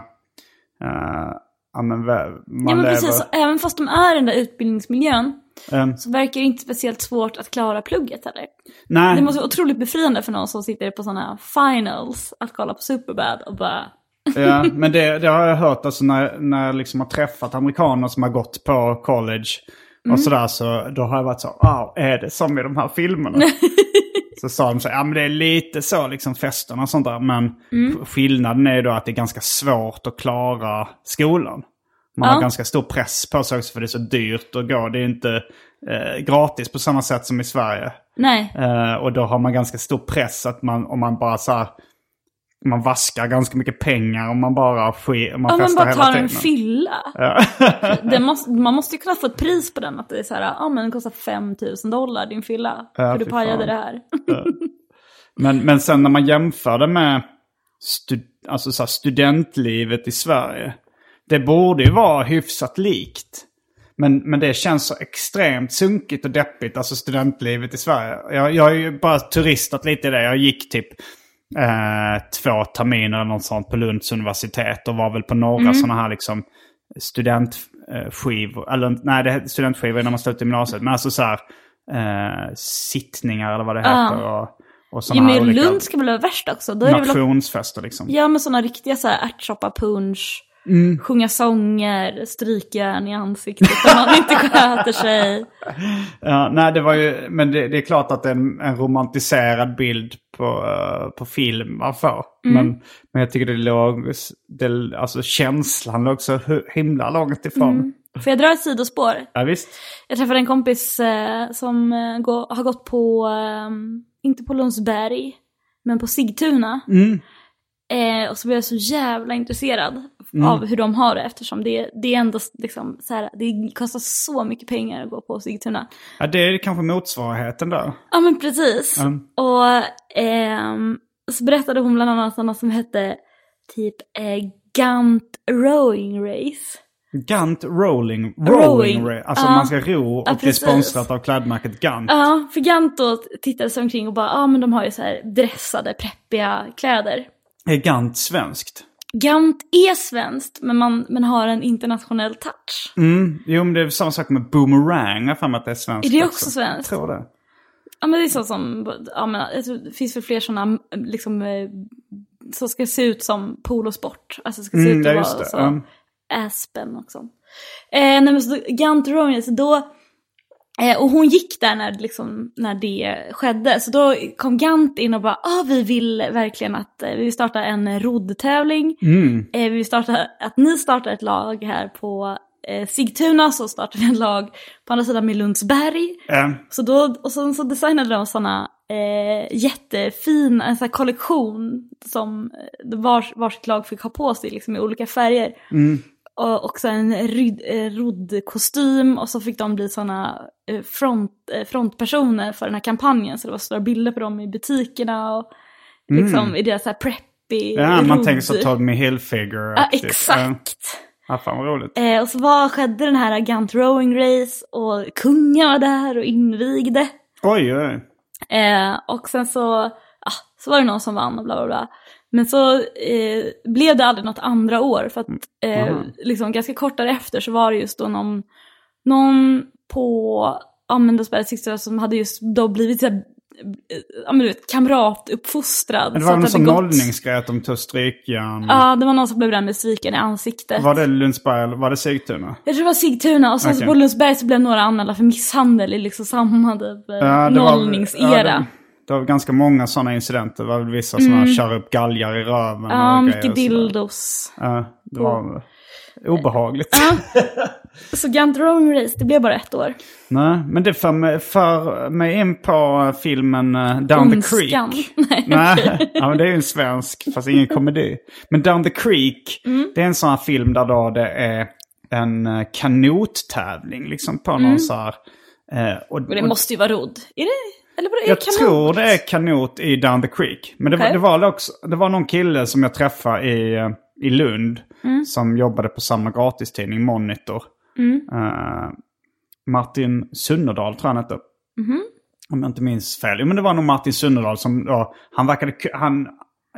eh, ja, men, vä- man
Ja men
lever...
precis, Och även fast de är i den där utbildningsmiljön
Ehm.
så verkar det inte speciellt svårt att klara plugget heller.
nej,
Det måste vara otroligt befriande för någon som sitter på sådana finals att kolla på Superbad och bara
Ja, men det, det har jag hört alltså när, när jag liksom har träffat amerikaner som har gått på college och sådär så då har jag varit så wow, är det som i de här filmerna? så sa de så ja men det är lite så liksom festerna och sånt där men skillnaden är ju då att det är ganska svårt att klara skolan. Man har
Ja.
ganska stor press på sig också för det är så dyrt att gå. Det är inte eh, gratis på samma sätt som i Sverige.
nej.
Eh, och då har man ganska stor press att man, om man bara så här, man vaskar ganska mycket pengar om man bara sker, om man
Om man
festar
bara
hela
tar en
tiden.
fylla. [LAUGHS] det måste, man måste ju kunna få ett pris på den att det är så här, ja ah, men den kostar 5000 dollar din fylla.
Ja,
för du
fy
pajade
fan.
det här.
men, men sen när man jämför det med stud, alltså så här, studentlivet i Sverige. Det borde ju vara hyfsat likt. Men, men det känns så extremt sunkigt och deppigt, alltså studentlivet i Sverige. Jag, jag har ju bara turistat lite i det. Jag gick typ eh, två terminer eller något sånt på Lunds universitet och var väl på några
Mm.
sådana här liksom studentskivor. Eller nej, det heter studentskivor är när man slutar gymnasiet. Men alltså så här eh, sittningar eller vad det heter. Och, och
Jo
sådana
men
här olika
Lund ska väl vara värst också. Då är det väl
nationsfester liksom.
Ja men sådana riktiga så här ärtsoppa punch, sjunga sånger, strykjärn i ansiktet om man inte sköter sig.
Ja, nej, det var ju, men det, det är klart att det är en, en romantiserad bild på, eh, på film man får.
Mm.
Men, men jag tycker det låg, det, alltså känslan låg så hu- himla långt ifrån.
Får jag dra ett sidospår?
Ja, visst.
Jag träffade en kompis eh, som eh, gå, har gått på, eh, inte på Lundsberg, men på Sigtuna. Eh, och så blev jag så jävla intresserad av hur de har det eftersom det, det är ändå liksom så här, det kostar så mycket pengar att gå på Sigtuna.
Ja, det är kanske motsvarigheten där.
Ja men precis.
Mm.
Och ehm, så berättade hon bland annat sådana som hette typ eh, Gant Rowing Race.
Gant Rolling.
Rowing.
Rowing. ra- Alltså
Ja.
man ska ro och
Ja,
det är
precis.
sponsrat av klädmärket Gant.
Ja, för Gant då tittade sig omkring och bara, ja ah, men de har ju så här dressade, preppiga kläder.
Är Gant svenskt?
Gant är svenskt men, man, men har en internationell touch.
Mm. Jo, men det är samma sak med Boomerang. Jag har för mig att det är
Är
svenskt
det också svenskt?
Jag tror det.
Ja men det är så som, ja men jag tror det finns väl fler sådana liksom, eh, som ska se ut som polosport. Alltså ska se
Mm,
ut
ja,
att
just
vara
det.
så.
Ja.
Aspen och sånt. Eh, nej men så Gant Rowan, så då, eh, och hon gick där när, liksom, när det skedde, så då kom Gant in och bara, ah vi vill verkligen att, eh, vi vill starta en roddtävling,
Mm.
eh, vi vill starta, att ni startar ett lag här på eh, Sigtuna, så startar vi ett lag på andra sidan med Lundsberg.
Ja.
Så då, och sen så designade de sådana eh, jättefina, en sån här kollektion som eh, vars, varsitt lag fick ha på sig liksom i olika färger.
Mm.
Och också en ryd, eh, roddkostym och så fick de bli sådana eh, front, eh, frontpersoner för den här kampanjen. Så det var stora bilder på dem i butikerna och liksom i deras så här preppy
Mm. Ja, man
rodd-
tänker så Tommy Hilfiger.
Ja, exakt.
Ja, fan vad roligt.
Eh, och så var, skedde den här Gant Rowing Race och kungen var där och invigde.
Oj, oj.
Eh, och sen så, ah, så var det någon som vann och bla bla bla. Men så eh, blev det aldrig något andra år för att
Mm.
eh, liksom, ganska kort därefter så var det just då någon, någon på, ja men då spelade Sixers som hade just då blivit så här, eh, ja men du vet kamratuppfostrad.
Men det
så
var
att
någon
hade
sån
gått-
nollningsgrej att de tog strykjärn.
Ja, det var någon som blev bränd med stryken i ansiktet.
Var det Lundsberg eller var det Sigtuna?
Jag tror det var Sigtuna och sen så
Okej.
på Lundsberg så blev några anmälda för misshandel i liksom samma typ, eh,
Ja, det var-
nollningsera.
ja, det, det var ganska många sådana incidenter. Det var väl vissa som mm. kör upp galgar i röven.
Ja,
och grejer
mycket
och sådär.
dildos.
Ja, det var... Obehagligt.
Så Gant Rowing Race, det blev bara ett år.
Nej, men det för mig, för mig in på filmen eh, Down the Creek.
[LAUGHS] Ondskan. Nej.
Nej, ja, men det är ju en svensk, fast ingen komedi. Men Down the Creek,
Mm.
det är en sån här film där då det är en eh, kanottävling liksom på någon så här... eh, och,
Mm. Och det
och-
måste ju vara rodd. Är det? Eller vadå? Är
jag
det kanot?
tror det är kanot i Down the Creek. Men det, var
Okej.
det, var också, det var någon kille som jag träffade i, eh, i Lund
Mm.
som jobbade på samma gratistidning, Monitor. Eh, Martin Sunnerdahl tror jag han hette.
Mhm.
Om jag inte minns fel. Jo, Men det var nog Martin Sunnerdahl som då, han verkade, ku- han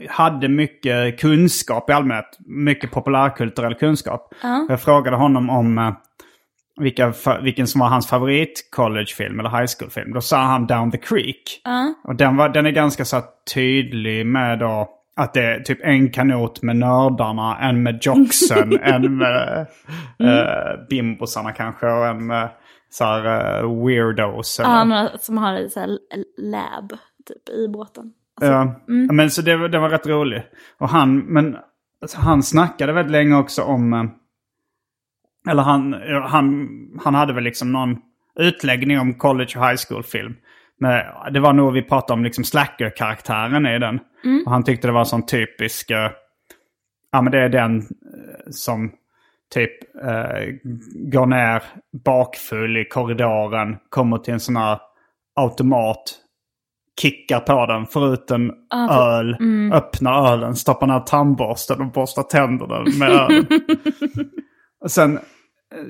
hade mycket kunskap i allmänhet. Mycket populärkulturell kunskap. Jag frågade honom om eh, vilka, fa- vilken som var hans favorit collegefilm eller high school-film. Då sa han Down the Creek. Och den, var, den är ganska så här tydlig med då att det är typ en kanot med nördarna, en med jocksen, en med eh, bimbosarna kanske och en med så här, eh, weirdos. eller-
Ja, några som har en sån här lab typ, i båten.
Ja, men så det, var- det var rätt rolig. Och han, men alltså, han snackade väldigt länge också om... eh, Eller han, eh, han, han hade väl liksom någon utläggning om college och high school-film. Men det var nog vi pratade om liksom slacker-karaktären i den. Och han tyckte det var en sån typisk... eh, Ja men det är den eh, som typ eh, går ner bakfull i korridoren, kommer till en sån här automat kickar på den, får ut en öl, öppnar ölen, stoppar ner tandborsten och borstar tänderna med ölen. och sen, eh,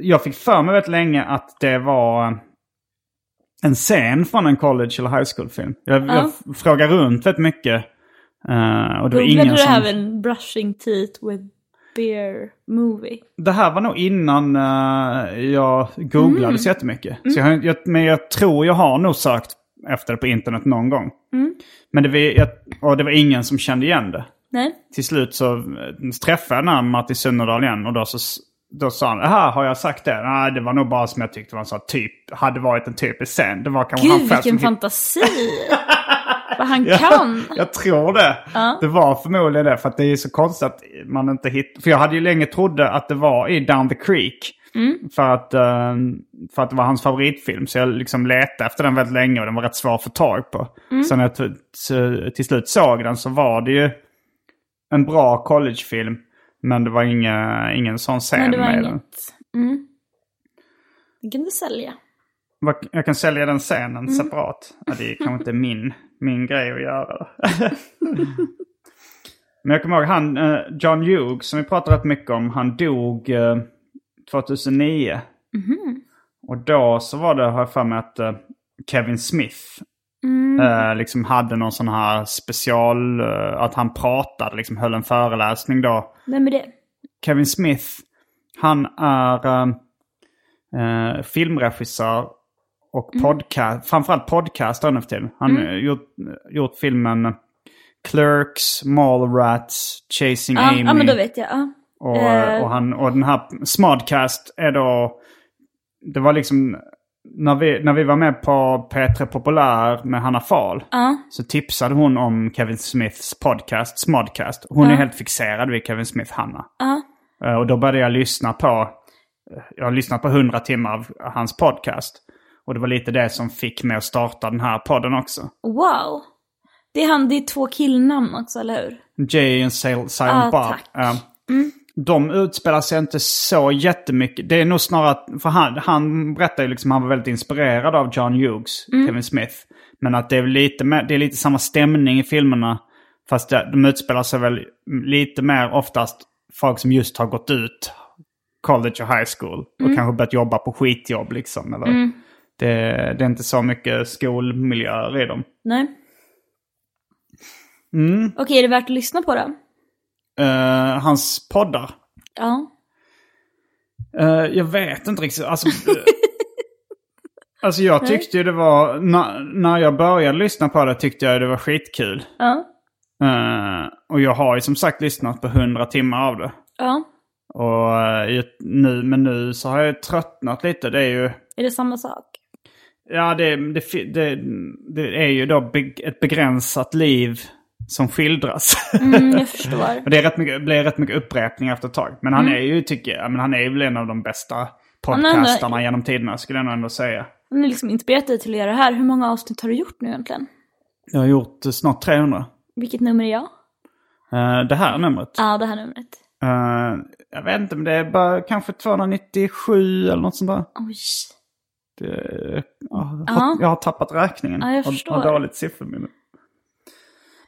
jag fick för mig väldigt länge att det var eh, en scen från en college eller high school-film. Jag, jag f- frågar runt väldigt mycket. eh, och det var
Googlade
ingen
du det
som...
här med en brushing teeth with beer movie?
Det här var nog innan eh, jag googlade
Mm.
så jättemycket. Så jag, har- jag, men jag tror jag har nog sökt efter det på internet någon gång.
Mm.
Men det var, jag, och det var ingen som kände igen det.
Nej?
Till slut så eh, träffade jag den här Martin Sunnerdahl igen och då, så, s- då sa han Aha, har jag sagt det? Nej, det var nog bara som jag tyckte var en sån här typ, hade varit en typisk scen. Det var kanske han
Gud
själv som
vilken
hittade- [LAUGHS]
fantasi! Vad han kan!
jag tror det. Det var förmodligen det. För att det är så konstigt att man inte hittar... För jag hade ju länge trodde att det var i Down the Creek.
Mm.
För, att, eh, för att det var hans favoritfilm. Så jag liksom letade efter den väldigt länge och den var rätt svår att få tag på.
Mm.
Sen när jag t- t- till slut såg den så var det ju en bra collegefilm. Men det var inga, ingen sån scen
Nej, det var
med den.
inget. Mm. Den kan du sälja.
Vad- Jag kan sälja den scenen separat. Ja, det är kanske inte min, min grej att göra. Men jag kommer ihåg han, eh, John Hughes, som vi pratade rätt mycket om, han dog eh, 2009. Och då så var det, har jag för mig, att eh, Kevin Smith eh, liksom hade någon sån här special, eh, att han pratade, liksom höll en föreläsning då.
Vem är det?
Kevin Smith, han är eh, eh, filmregissör och
Mm.
podcast, framförallt podcaster nu för tiden. Han har gjort, gjort filmen Clerks, Mallrats, Chasing
Ja,
Amy.
ja, men då vet jag. Ja.
Och, och, han, och den här Smartcast är då... Det var liksom... När vi, när vi var med på P3 Populär med Hanna Fahl så tipsade hon om Kevin Smiths podcast Smodcast. Hon är helt fixerad vid Kevin Smith, Hanna. Eh, Och då började jag lyssna på... Jag har lyssnat på hundra timmar av hans podcast. Och det var lite det som fick mig att starta den här podden också.
Wow! Det är, han, det är två killnamn också, eller hur?
Jay and Sil- Silent
Ah,
Bob.
tack.
Ja. De utspelar sig inte så jättemycket. Det är nog snarare att, för han, han berättar ju liksom, han var väldigt inspirerad av John Hughes, Kevin Smith. Men att det är lite, mer, det är lite samma stämning i filmerna. Fast det, de utspelar sig väl lite mer oftast folk som just har gått ut college och high school. Och kanske börjat jobba på skitjobb liksom. Eller? Det, det är inte så mycket skolmiljöer i dem. Mm.
Nej. Okej, är det värt att lyssna på då?
Eh, hans poddar.
Ja.
Eh, jag vet inte riktigt. Alltså, eh,
[LAUGHS]
alltså jag tyckte ju det var... Na, när jag började lyssna på det tyckte jag det var skitkul.
Ja.
Eh, och jag har ju som sagt lyssnat på hundra timmar av det.
Ja.
Och, eh, i ett- nu, men nu så har jag tröttnat lite. Det är ju...
Är det samma sak?
Ja, det, det, fi- det, det är ju då beg- ett begränsat liv som skildras.
Mm, jag förstår.
[LAUGHS] Och det är rätt mycket, blir rätt mycket uppräkning efter ett tag. Men han är ju, tycker jag, men han är väl en av de bästa
Mm. är ändå-
podcastarna genom tiderna, skulle jag nog ändå säga.
Han är liksom inspirerat dig till att göra det här. Hur många avsnitt har du gjort nu egentligen?
Jag har gjort eh, snart 300.
Vilket nummer är jag?
Eh, Det här numret.
Ja, ah, det här numret.
Eh, jag vet inte, men det är bara kanske 297 eller något sånt där.
Oj.
Det, ja, jag,
Ja.
har, jag har tappat räkningen.
Ja, jag
Har-
förstår.
Har dåligt sifferminne.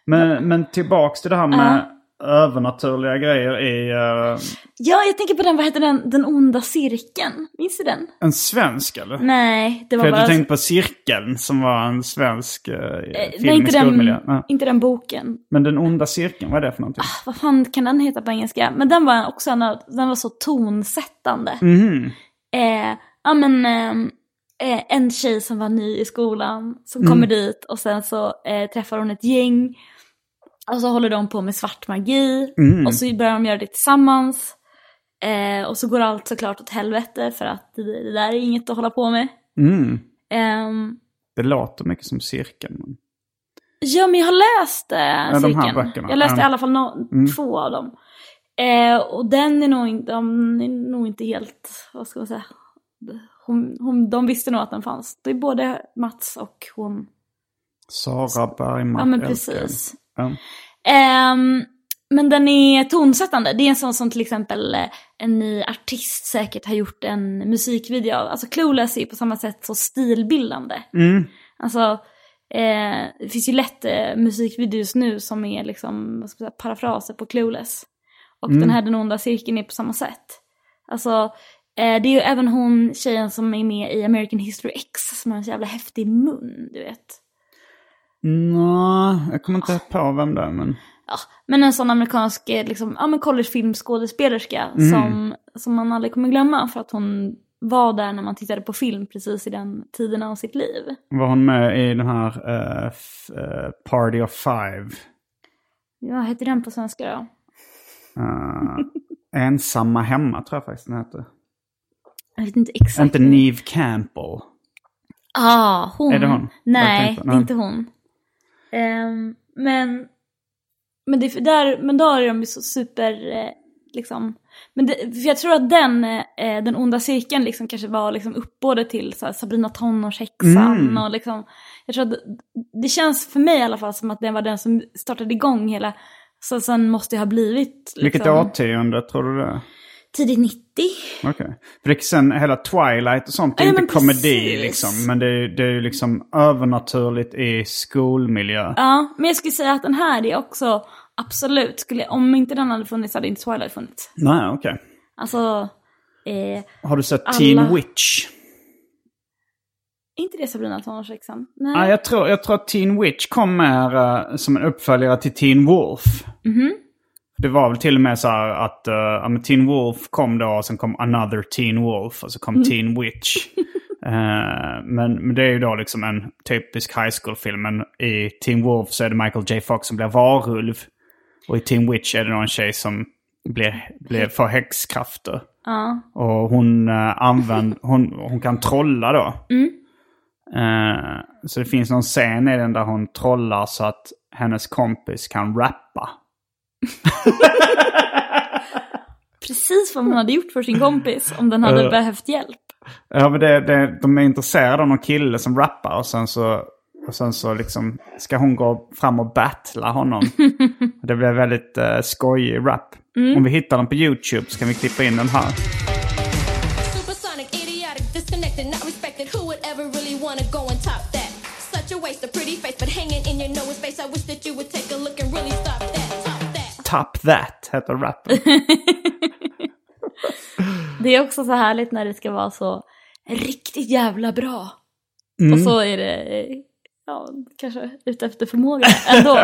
Men, men tillbaks till det här med övernaturliga grejer i eh,
Ja, jag tänker på den, vad heter den? Den onda cirkeln. Minns du den?
en svensk eller?
Nej, det var
För
bara...
jag tänkte på Cirkeln som var en svensk eh, film
Nej,
i
inte
skolmiljö.
den,
Nej.
inte den boken.
Men Den onda cirkeln, vad är det för någonting?
Vad fan kan den heta på engelska? Men den var också en av, den var så tonsättande.
Mhm.
Eh, ja men ehm, eh, en tjej som var ny i skolan som kommer dit och sen så eh, träffar hon ett gäng. Och så håller de på med svart magi
Mm. mhm,
och så börjar de göra det tillsammans. Eh, och så går allt såklart åt helvete för att det, det där är inget att hålla på med.
Mm.
Ehm,
Det låter mycket som Cirkeln.
Ja, men jag har läst eh,
de här
cirkeln.
böckerna,
Jag läste
ja. Mm.
i alla fall no- två av dem. Eh, och den är nog, inte- de är nog inte helt, vad ska man säga, hon, hon, de visste nog att den fanns. Det är både Mats och hon.
Sara Bergman.
Ja, men
Elke.
precis.
Ja.
Ehm, men den är tonsättande. Det är en sån som till exempel eh, en ny artist säkert har gjort en musikvideo av. Alltså Clueless är ju på samma sätt så stilbildande.
Mm.
Alltså, eh, det finns ju lätt eh, musikvideos nu som är liksom, vad ska man säga, parafraser på Clueless. Och den här Den onda cirkeln är på samma sätt. Alltså, eh, det är ju även hon tjejen som är med i American History X som har en så jävla häftig mun, du vet.
Nå, jag kommer inte
Ah.
på vem det är men...
Ja, men en sån amerikansk eh, liksom, ja, men collegefilmskådespelerska som, som man aldrig kommer glömma för att hon var där när man tittade på film precis i den tiden av sitt liv.
Var hon med i den här eh, f- eh, Party of Five?
Ja, Vad heter den på svenska då? [LAUGHS]
Eh, Ensamma hemma tror jag faktiskt den heter.
Jag vet inte exakt.
Inte Neve Campbell.
Ah, hon.
Är det hon? Jag
Nej,
tänkte-
det
nej.
är inte hon. Ehm, men, men, det, där, men då är de ju så super, eh, liksom. Men det, för jag tror att den, eh, den onda cirkeln liksom kanske var liksom uppbådet till så här, Sabrina tonårshäxan
Mm.
och liksom. Jag tror att det, det känns för mig i alla fall som att den var den som startade igång hela, så sen måste jag ha blivit liksom,
Vilket årtionde tror du det är?
tidigt 90.
Okej. För det, sen hela Twilight och sånt, det är
Ja,
inte
men
komedi
precis.
liksom. Men det är, det är ju liksom övernaturligt i skolmiljö.
Ja, men jag skulle säga att den här är också absolut, skulle, om inte den hade funnits hade inte Twilight funnits.
Nej, okej.
Alltså, eh,
Har du sett
Alla-
Teen Witch?
är inte det Sabrina tonårshäxan? Nej.
Ja, jag, tror, jag tror att Teen Witch kom mer eh, som en uppföljare till Teen Wolf. Det var väl till och med så här att eh, ja, men Teen Wolf kom då och sen kom Another Teen Wolf och så kom Teen Witch. Eh, men, men det är ju då liksom en typisk high school-film. Men i Teen Wolf så är det Michael J. Fox som blir varulv. Och i Teen Witch är det då en tjej som blir, blir, får häxkrafter. Och hon, eh, använd, hon, hon kan trolla då. Eh, så det finns någon scen i den där hon trollar så att hennes kompis kan rappa.
Precis vad man hade gjort för sin kompis om den hade behövt hjälp.
Ja, men det, det, de är intresserade av någon kille som rappar och sen så, och sen så liksom ska hon gå fram och battla honom. det blir väldigt eh, skojig rap. Om vi hittar den på YouTube så kan vi klippa in den här.
Supersonic, idiotic, disconnected, not respected. Who would ever really wanna go and top that? Such a waste of pretty face, but hanging in your nose space. I wish that you would take a look and really stop that. Top that.
Top That heter rappen.
Det är också så härligt när det ska vara så riktigt jävla bra.
Mm.
Och så är det, eh, ja, kanske ute efter förmåga
[LAUGHS]
ändå.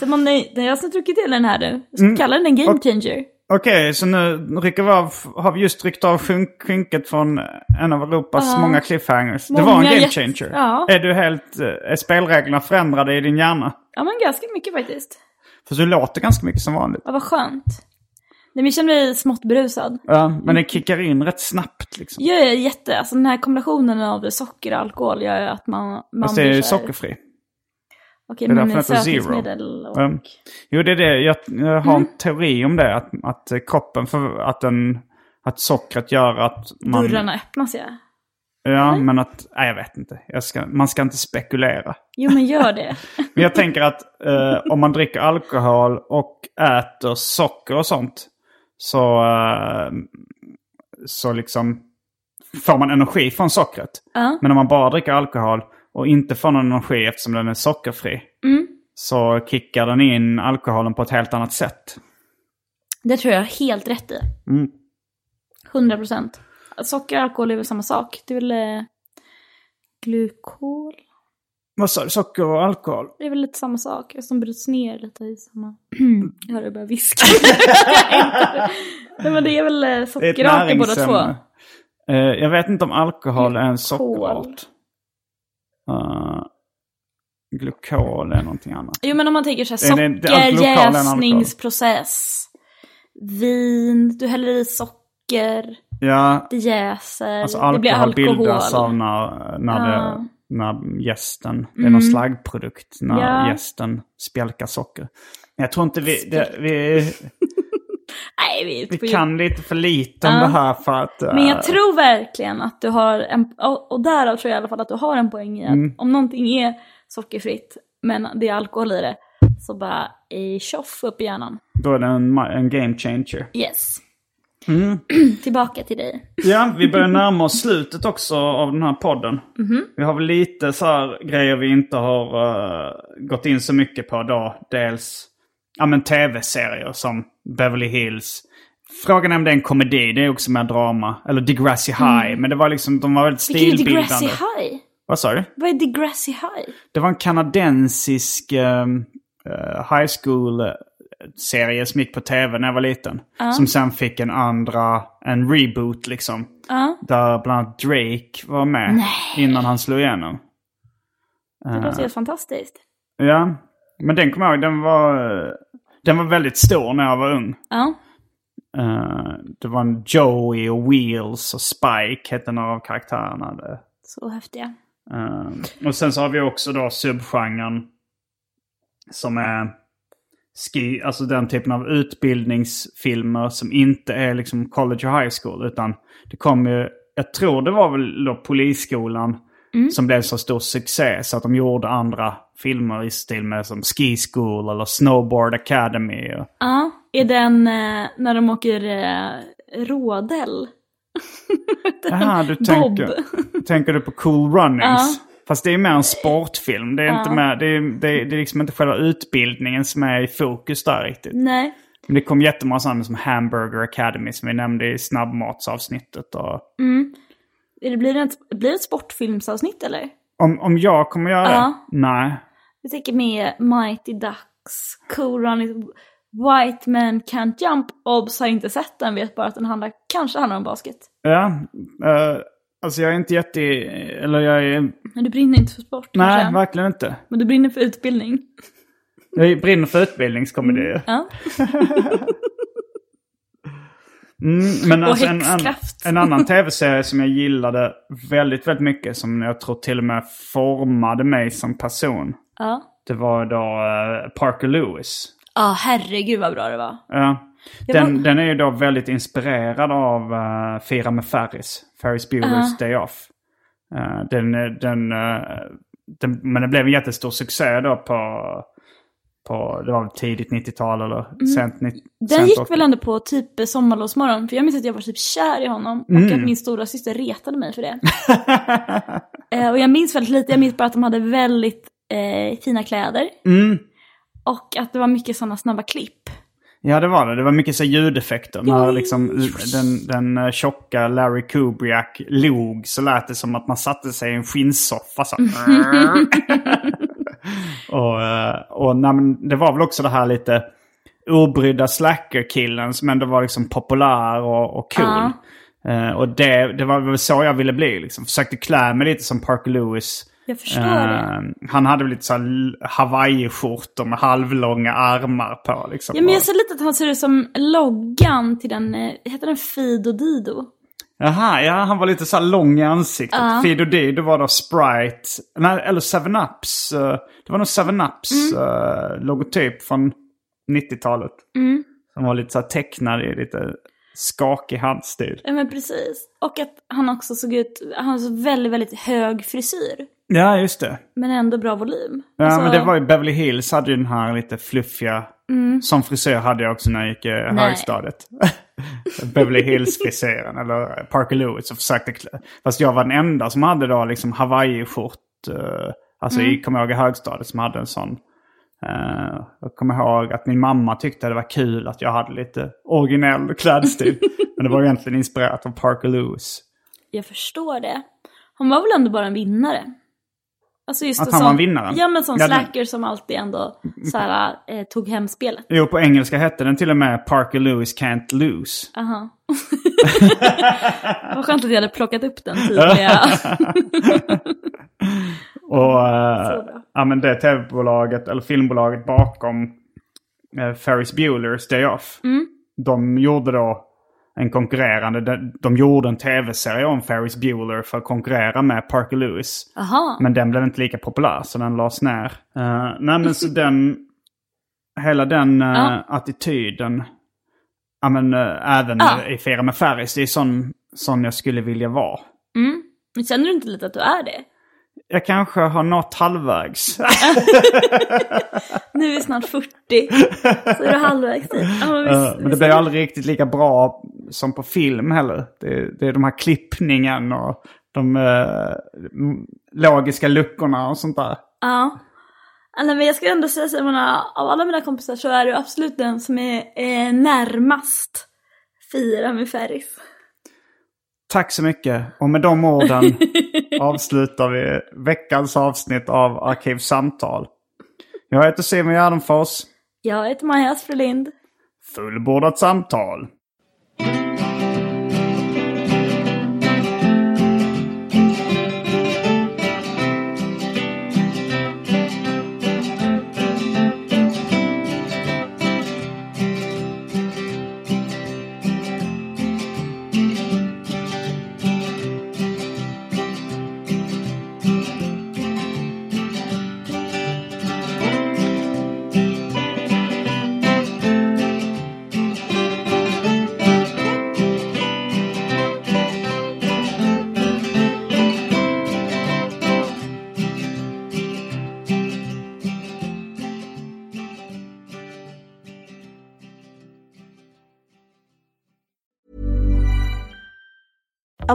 så man, nej, jag har druckit till den här nu. Jag
Mm.
ska kalla den en game changer.
Okej, så nu rycker vi av, har vi just ryckt av skyn- skynket från en av Europas många cliffhangers. det var en
Många
game
jätte-
changer.
Ja.
Är du helt, eh, är spelreglerna förändrade i din hjärna?
Ja men ganska mycket faktiskt.
För du låter ganska mycket som vanligt.
Ja, vad skönt. Nej men jag känner mig smått berusad.
Ja, men det kickar in rätt snabbt liksom.
Jag är jätte, alltså den här kombinationen av socker och alkohol gör ju att man... man
Fast det Alltså, är
blir
ju
så här-
sockerfri.
Och
Det är
en
därför den heter Zero.
sötningsmedel. Och...
Ehm, jo, det är det. Jag, jag har
Mm.
en teori om det. Att, att eh, kroppen, för, att, den, att sockret gör att man...
Dörrarna öppnas ja.
Ja, men att... Nej, jag vet inte. Jag ska, man ska inte spekulera.
Jo men
[LAUGHS]
gör det.
Men jag tänker att eh, om man dricker alkohol och äter socker och sånt så, eh, så liksom får man energi från sockret.
Ja.
Men om man bara dricker alkohol och inte får någon energi eftersom den är sockerfri
Mm.
så kickar den in alkoholen på ett helt annat sätt.
Det tror jag helt rätt i.
Mm.
100 procent. Socker och alkohol är väl samma sak. Det är väl eh, glukol.
Vad sa du? Socker och alkohol?
Det är väl lite samma sak. Som bryts ner lite i samma... [CLEARS THROAT] jag hörde jag
[LAUGHS]
börja viska. [LAUGHS] Nej men det är väl eh,
Det är ett
sockerarter båda två.
näringsämne. Eh, jag vet inte om alkohol är en
Glukol.
sockerart. Uh, glukol är någonting annat.
Jo men om man tänker så här,
Det är- det är
socker,
alkohol, lokalen alkohol.
jäsningsprocess. Vin, du häller i socker,
Ja,
det jäser,
Alltså
det
alkohol,
blir
bildas av
alkohol.
när, när,
Ja. Mm.
det, när gästen, det är någon slaggprodukt när
Ja.
gästen spjälkar socker. Men jag tror inte vi, det, vi,
Nej, vi är ute på
vi
djup.
kan lite för lite om det här för att... eh,
Men jag tror verkligen att du har en, och och därav tror jag i alla fall att du har en poäng i att
Mm.
om någonting är sockerfritt men det är alkohol i det så bara i tjoff upp i hjärnan.
Då är det en, ma- en game changer.
Yes.
Mm.
[CLEARS THROAT] Tillbaka till dig.
Ja, vi börjar närma oss slutet också av den här podden.
Mhm.
Vi har väl lite så här grejer vi inte har eh, gått in så mycket på då. Dels ja, men tv-serier som Beverly Hills. Frågan är om det är en komedi, det är också mer drama. Eller Degrassi High, men det var liksom, de var väldigt
Mm. Vilken är
stilbildande.
Degrassi High?
Vad sa du?
Vad är Degrassi High?
Det var en kanadensisk eh, eh, high school-serie som gick på tv när jag var liten. Som sen fick en andra, en reboot liksom. Där bland annat Drake var med innan han slog igenom.
Det låter helt fantastiskt.
Ja, men den kommer jag ihåg, den var, eh, den var väldigt stor när jag var ung.
Ja.
Eh, det var en Joey och Wheels och Spike hette några av karaktärerna. Det.
Så häftiga.
Eh, och sen så har vi också då subgenren som är ski, alltså den typen av utbildningsfilmer som inte är liksom college och high school. Utan det kom ju, jag tror det var väl då Polisskolan som blev så stor succé så att de gjorde andra filmer i stil med som Ski School eller Snowboard Academy. Och,
Ja, är den eh, när de åker eh, rådel?
Jaha, du
Bob.
tänker, tänker du på Cool Runnings? Fast det är mer en sportfilm. Det är, inte med, det, är, det, är, det är liksom inte själva utbildningen som är i fokus där riktigt.
Nej.
Men det kom jättemånga sådana som Hamburger Academy som vi nämnde i snabbmatsavsnittet. Och
Är det- Blir det ett, blir det ett sportfilmsavsnitt eller?
om, om jag kommer göra det?
Ja.
Nej.
Jag tänker med Mighty Ducks, Cool Runnings, White Man Can't Jump. Obs har inte sett den, vet bara att den handlar, kanske handlar om basket.
Ja, eh, alltså jag är inte jätte... Eller jag är...
Men du brinner inte för sport
Nej,
kanske?
verkligen inte.
Men du brinner för utbildning.
Jag brinner för utbildningskomedier.
Ja.
[LAUGHS] Mm, men
Och
alltså en, en,
häxkraft.
en annan tv-serie som jag gillade väldigt, väldigt mycket, som jag tror till och med formade mig som person.
Ja.
Det var då eh, Parker Lewis.
Ja, herregud vad bra det var.
Ja.
Det
Eh, Den,
var-
den är ju då väldigt inspirerad av eh, Fira med Ferris. Ferris Bueller's Day Off. Eh, den, eh, den, eh, den, men den blev en jättestor succé då på, på det var väl tidigt 90-tal eller sent 90
Mm. Den gick väl ändå på typ sommarlovsmorgon, för jag minns att jag var typ kär i honom.
Mm.
Och att min stora syster retade mig
[LAUGHS]
för det. eh, och jag minns väldigt lite, jag minns bara att de hade väldigt eh, fina kläder.
Mm.
Och att det var mycket sådana snabba klipp.
Ja, det var det. Det var mycket så ljudeffekter.
Mm.
När liksom den, den eh, tjocka Larry Kubriak log så lät det som att man satte sig i en skinnsoffa.
[LAUGHS]
Så. och eh, och nej, men det var väl också det här lite obrydda slacker-killen som ändå var liksom populär och, och cool. Eh, och det, det var väl så jag ville bli. Liksom. Försökte klä mig lite som Parker Lewis.
Jag förstår det.
Eh, han hade väl lite så här l- hawaiiskjortor med halvlånga armar på. Liksom.
Ja men
Och-
jag ser lite att han ser ut som loggan till den, eh, heter den Fido Dido?
Jaha, ja, han var lite så här lång i ansiktet. Fido Dido var då Sprite, nej, eller 7-Ups. eh, Det var nog 7-Ups eh, logotyp från 90-talet. Som var lite så här tecknad i lite skakig handstil.
Ja men precis. Och att han också såg ut, han hade så väldigt, väldigt hög frisyr.
Ja, just det.
Men ändå bra volym.
Ja,
Alltså,
men det var ju Beverly Hills hade ju den här lite fluffiga. Som frisör hade jag också när jag gick eh, högstadiet. [LAUGHS] Beverly Hills-frisyren eller eh, Parker Lewis och försökte klä. Fast jag var den enda som hade då liksom hawaii-skjort. eh, Alltså jag kommer ihåg i högstadiet som hade en sån. Eh, jag kommer ihåg att min mamma tyckte det var kul att jag hade lite originell [LAUGHS] klädstil. men det var ju egentligen inspirerat av Parker Lewis.
Jag förstår det. Han var väl ändå bara en vinnare? Alltså just
Att
en
han
sån,
var en vinnare?
Ja men sån
Ja, det-
slacker som alltid ändå så här, eh, tog hem spelet.
Jo, på engelska hette den till och med Parker Lewis Can't Lose.
Aha. Vad skönt att jag hade plockat upp den
[LAUGHS]
tidiga.
Och eh,
Mm. Så bra.
ja, men det tv-bolaget, eller filmbolaget bakom eh, Ferris Bueller's Day Off.
Mm.
De gjorde då en konkurrerande, de, de gjorde en tv-serie om Ferris Bueller för att konkurrera med Parker Lewis.
Aha.
Men den blev inte lika populär så den lades ner. Eh, nej men så den, [LAUGHS] hela den eh,
Ja.
attityden, ja men eh, även
Ja.
i Fira med Ferris, det är sån, sån jag skulle vilja vara.
Men känner du inte lite att du är det?
Jag kanske har nått halvvägs.
Nu är vi snart 40. Så är du halvvägs dit. Ja, men visst,
Eh, Men det
visst.
blir ju aldrig riktigt lika bra som på film heller. Det, det är de här klippningen och de eh, m- logiska luckorna och sånt där.
Ja. Alltså, men jag skulle ändå säga Simon, av alla mina kompisar så är du absolut den som är eh, närmast fira med Ferris.
Tack så mycket. Och med de
[LAUGHS]
orden avslutar vi veckans avsnitt av Arkivsamtal. Jag heter Simon Gärdenfors.
Jag heter Maja Asfrelind.
Fullbordat samtal.
A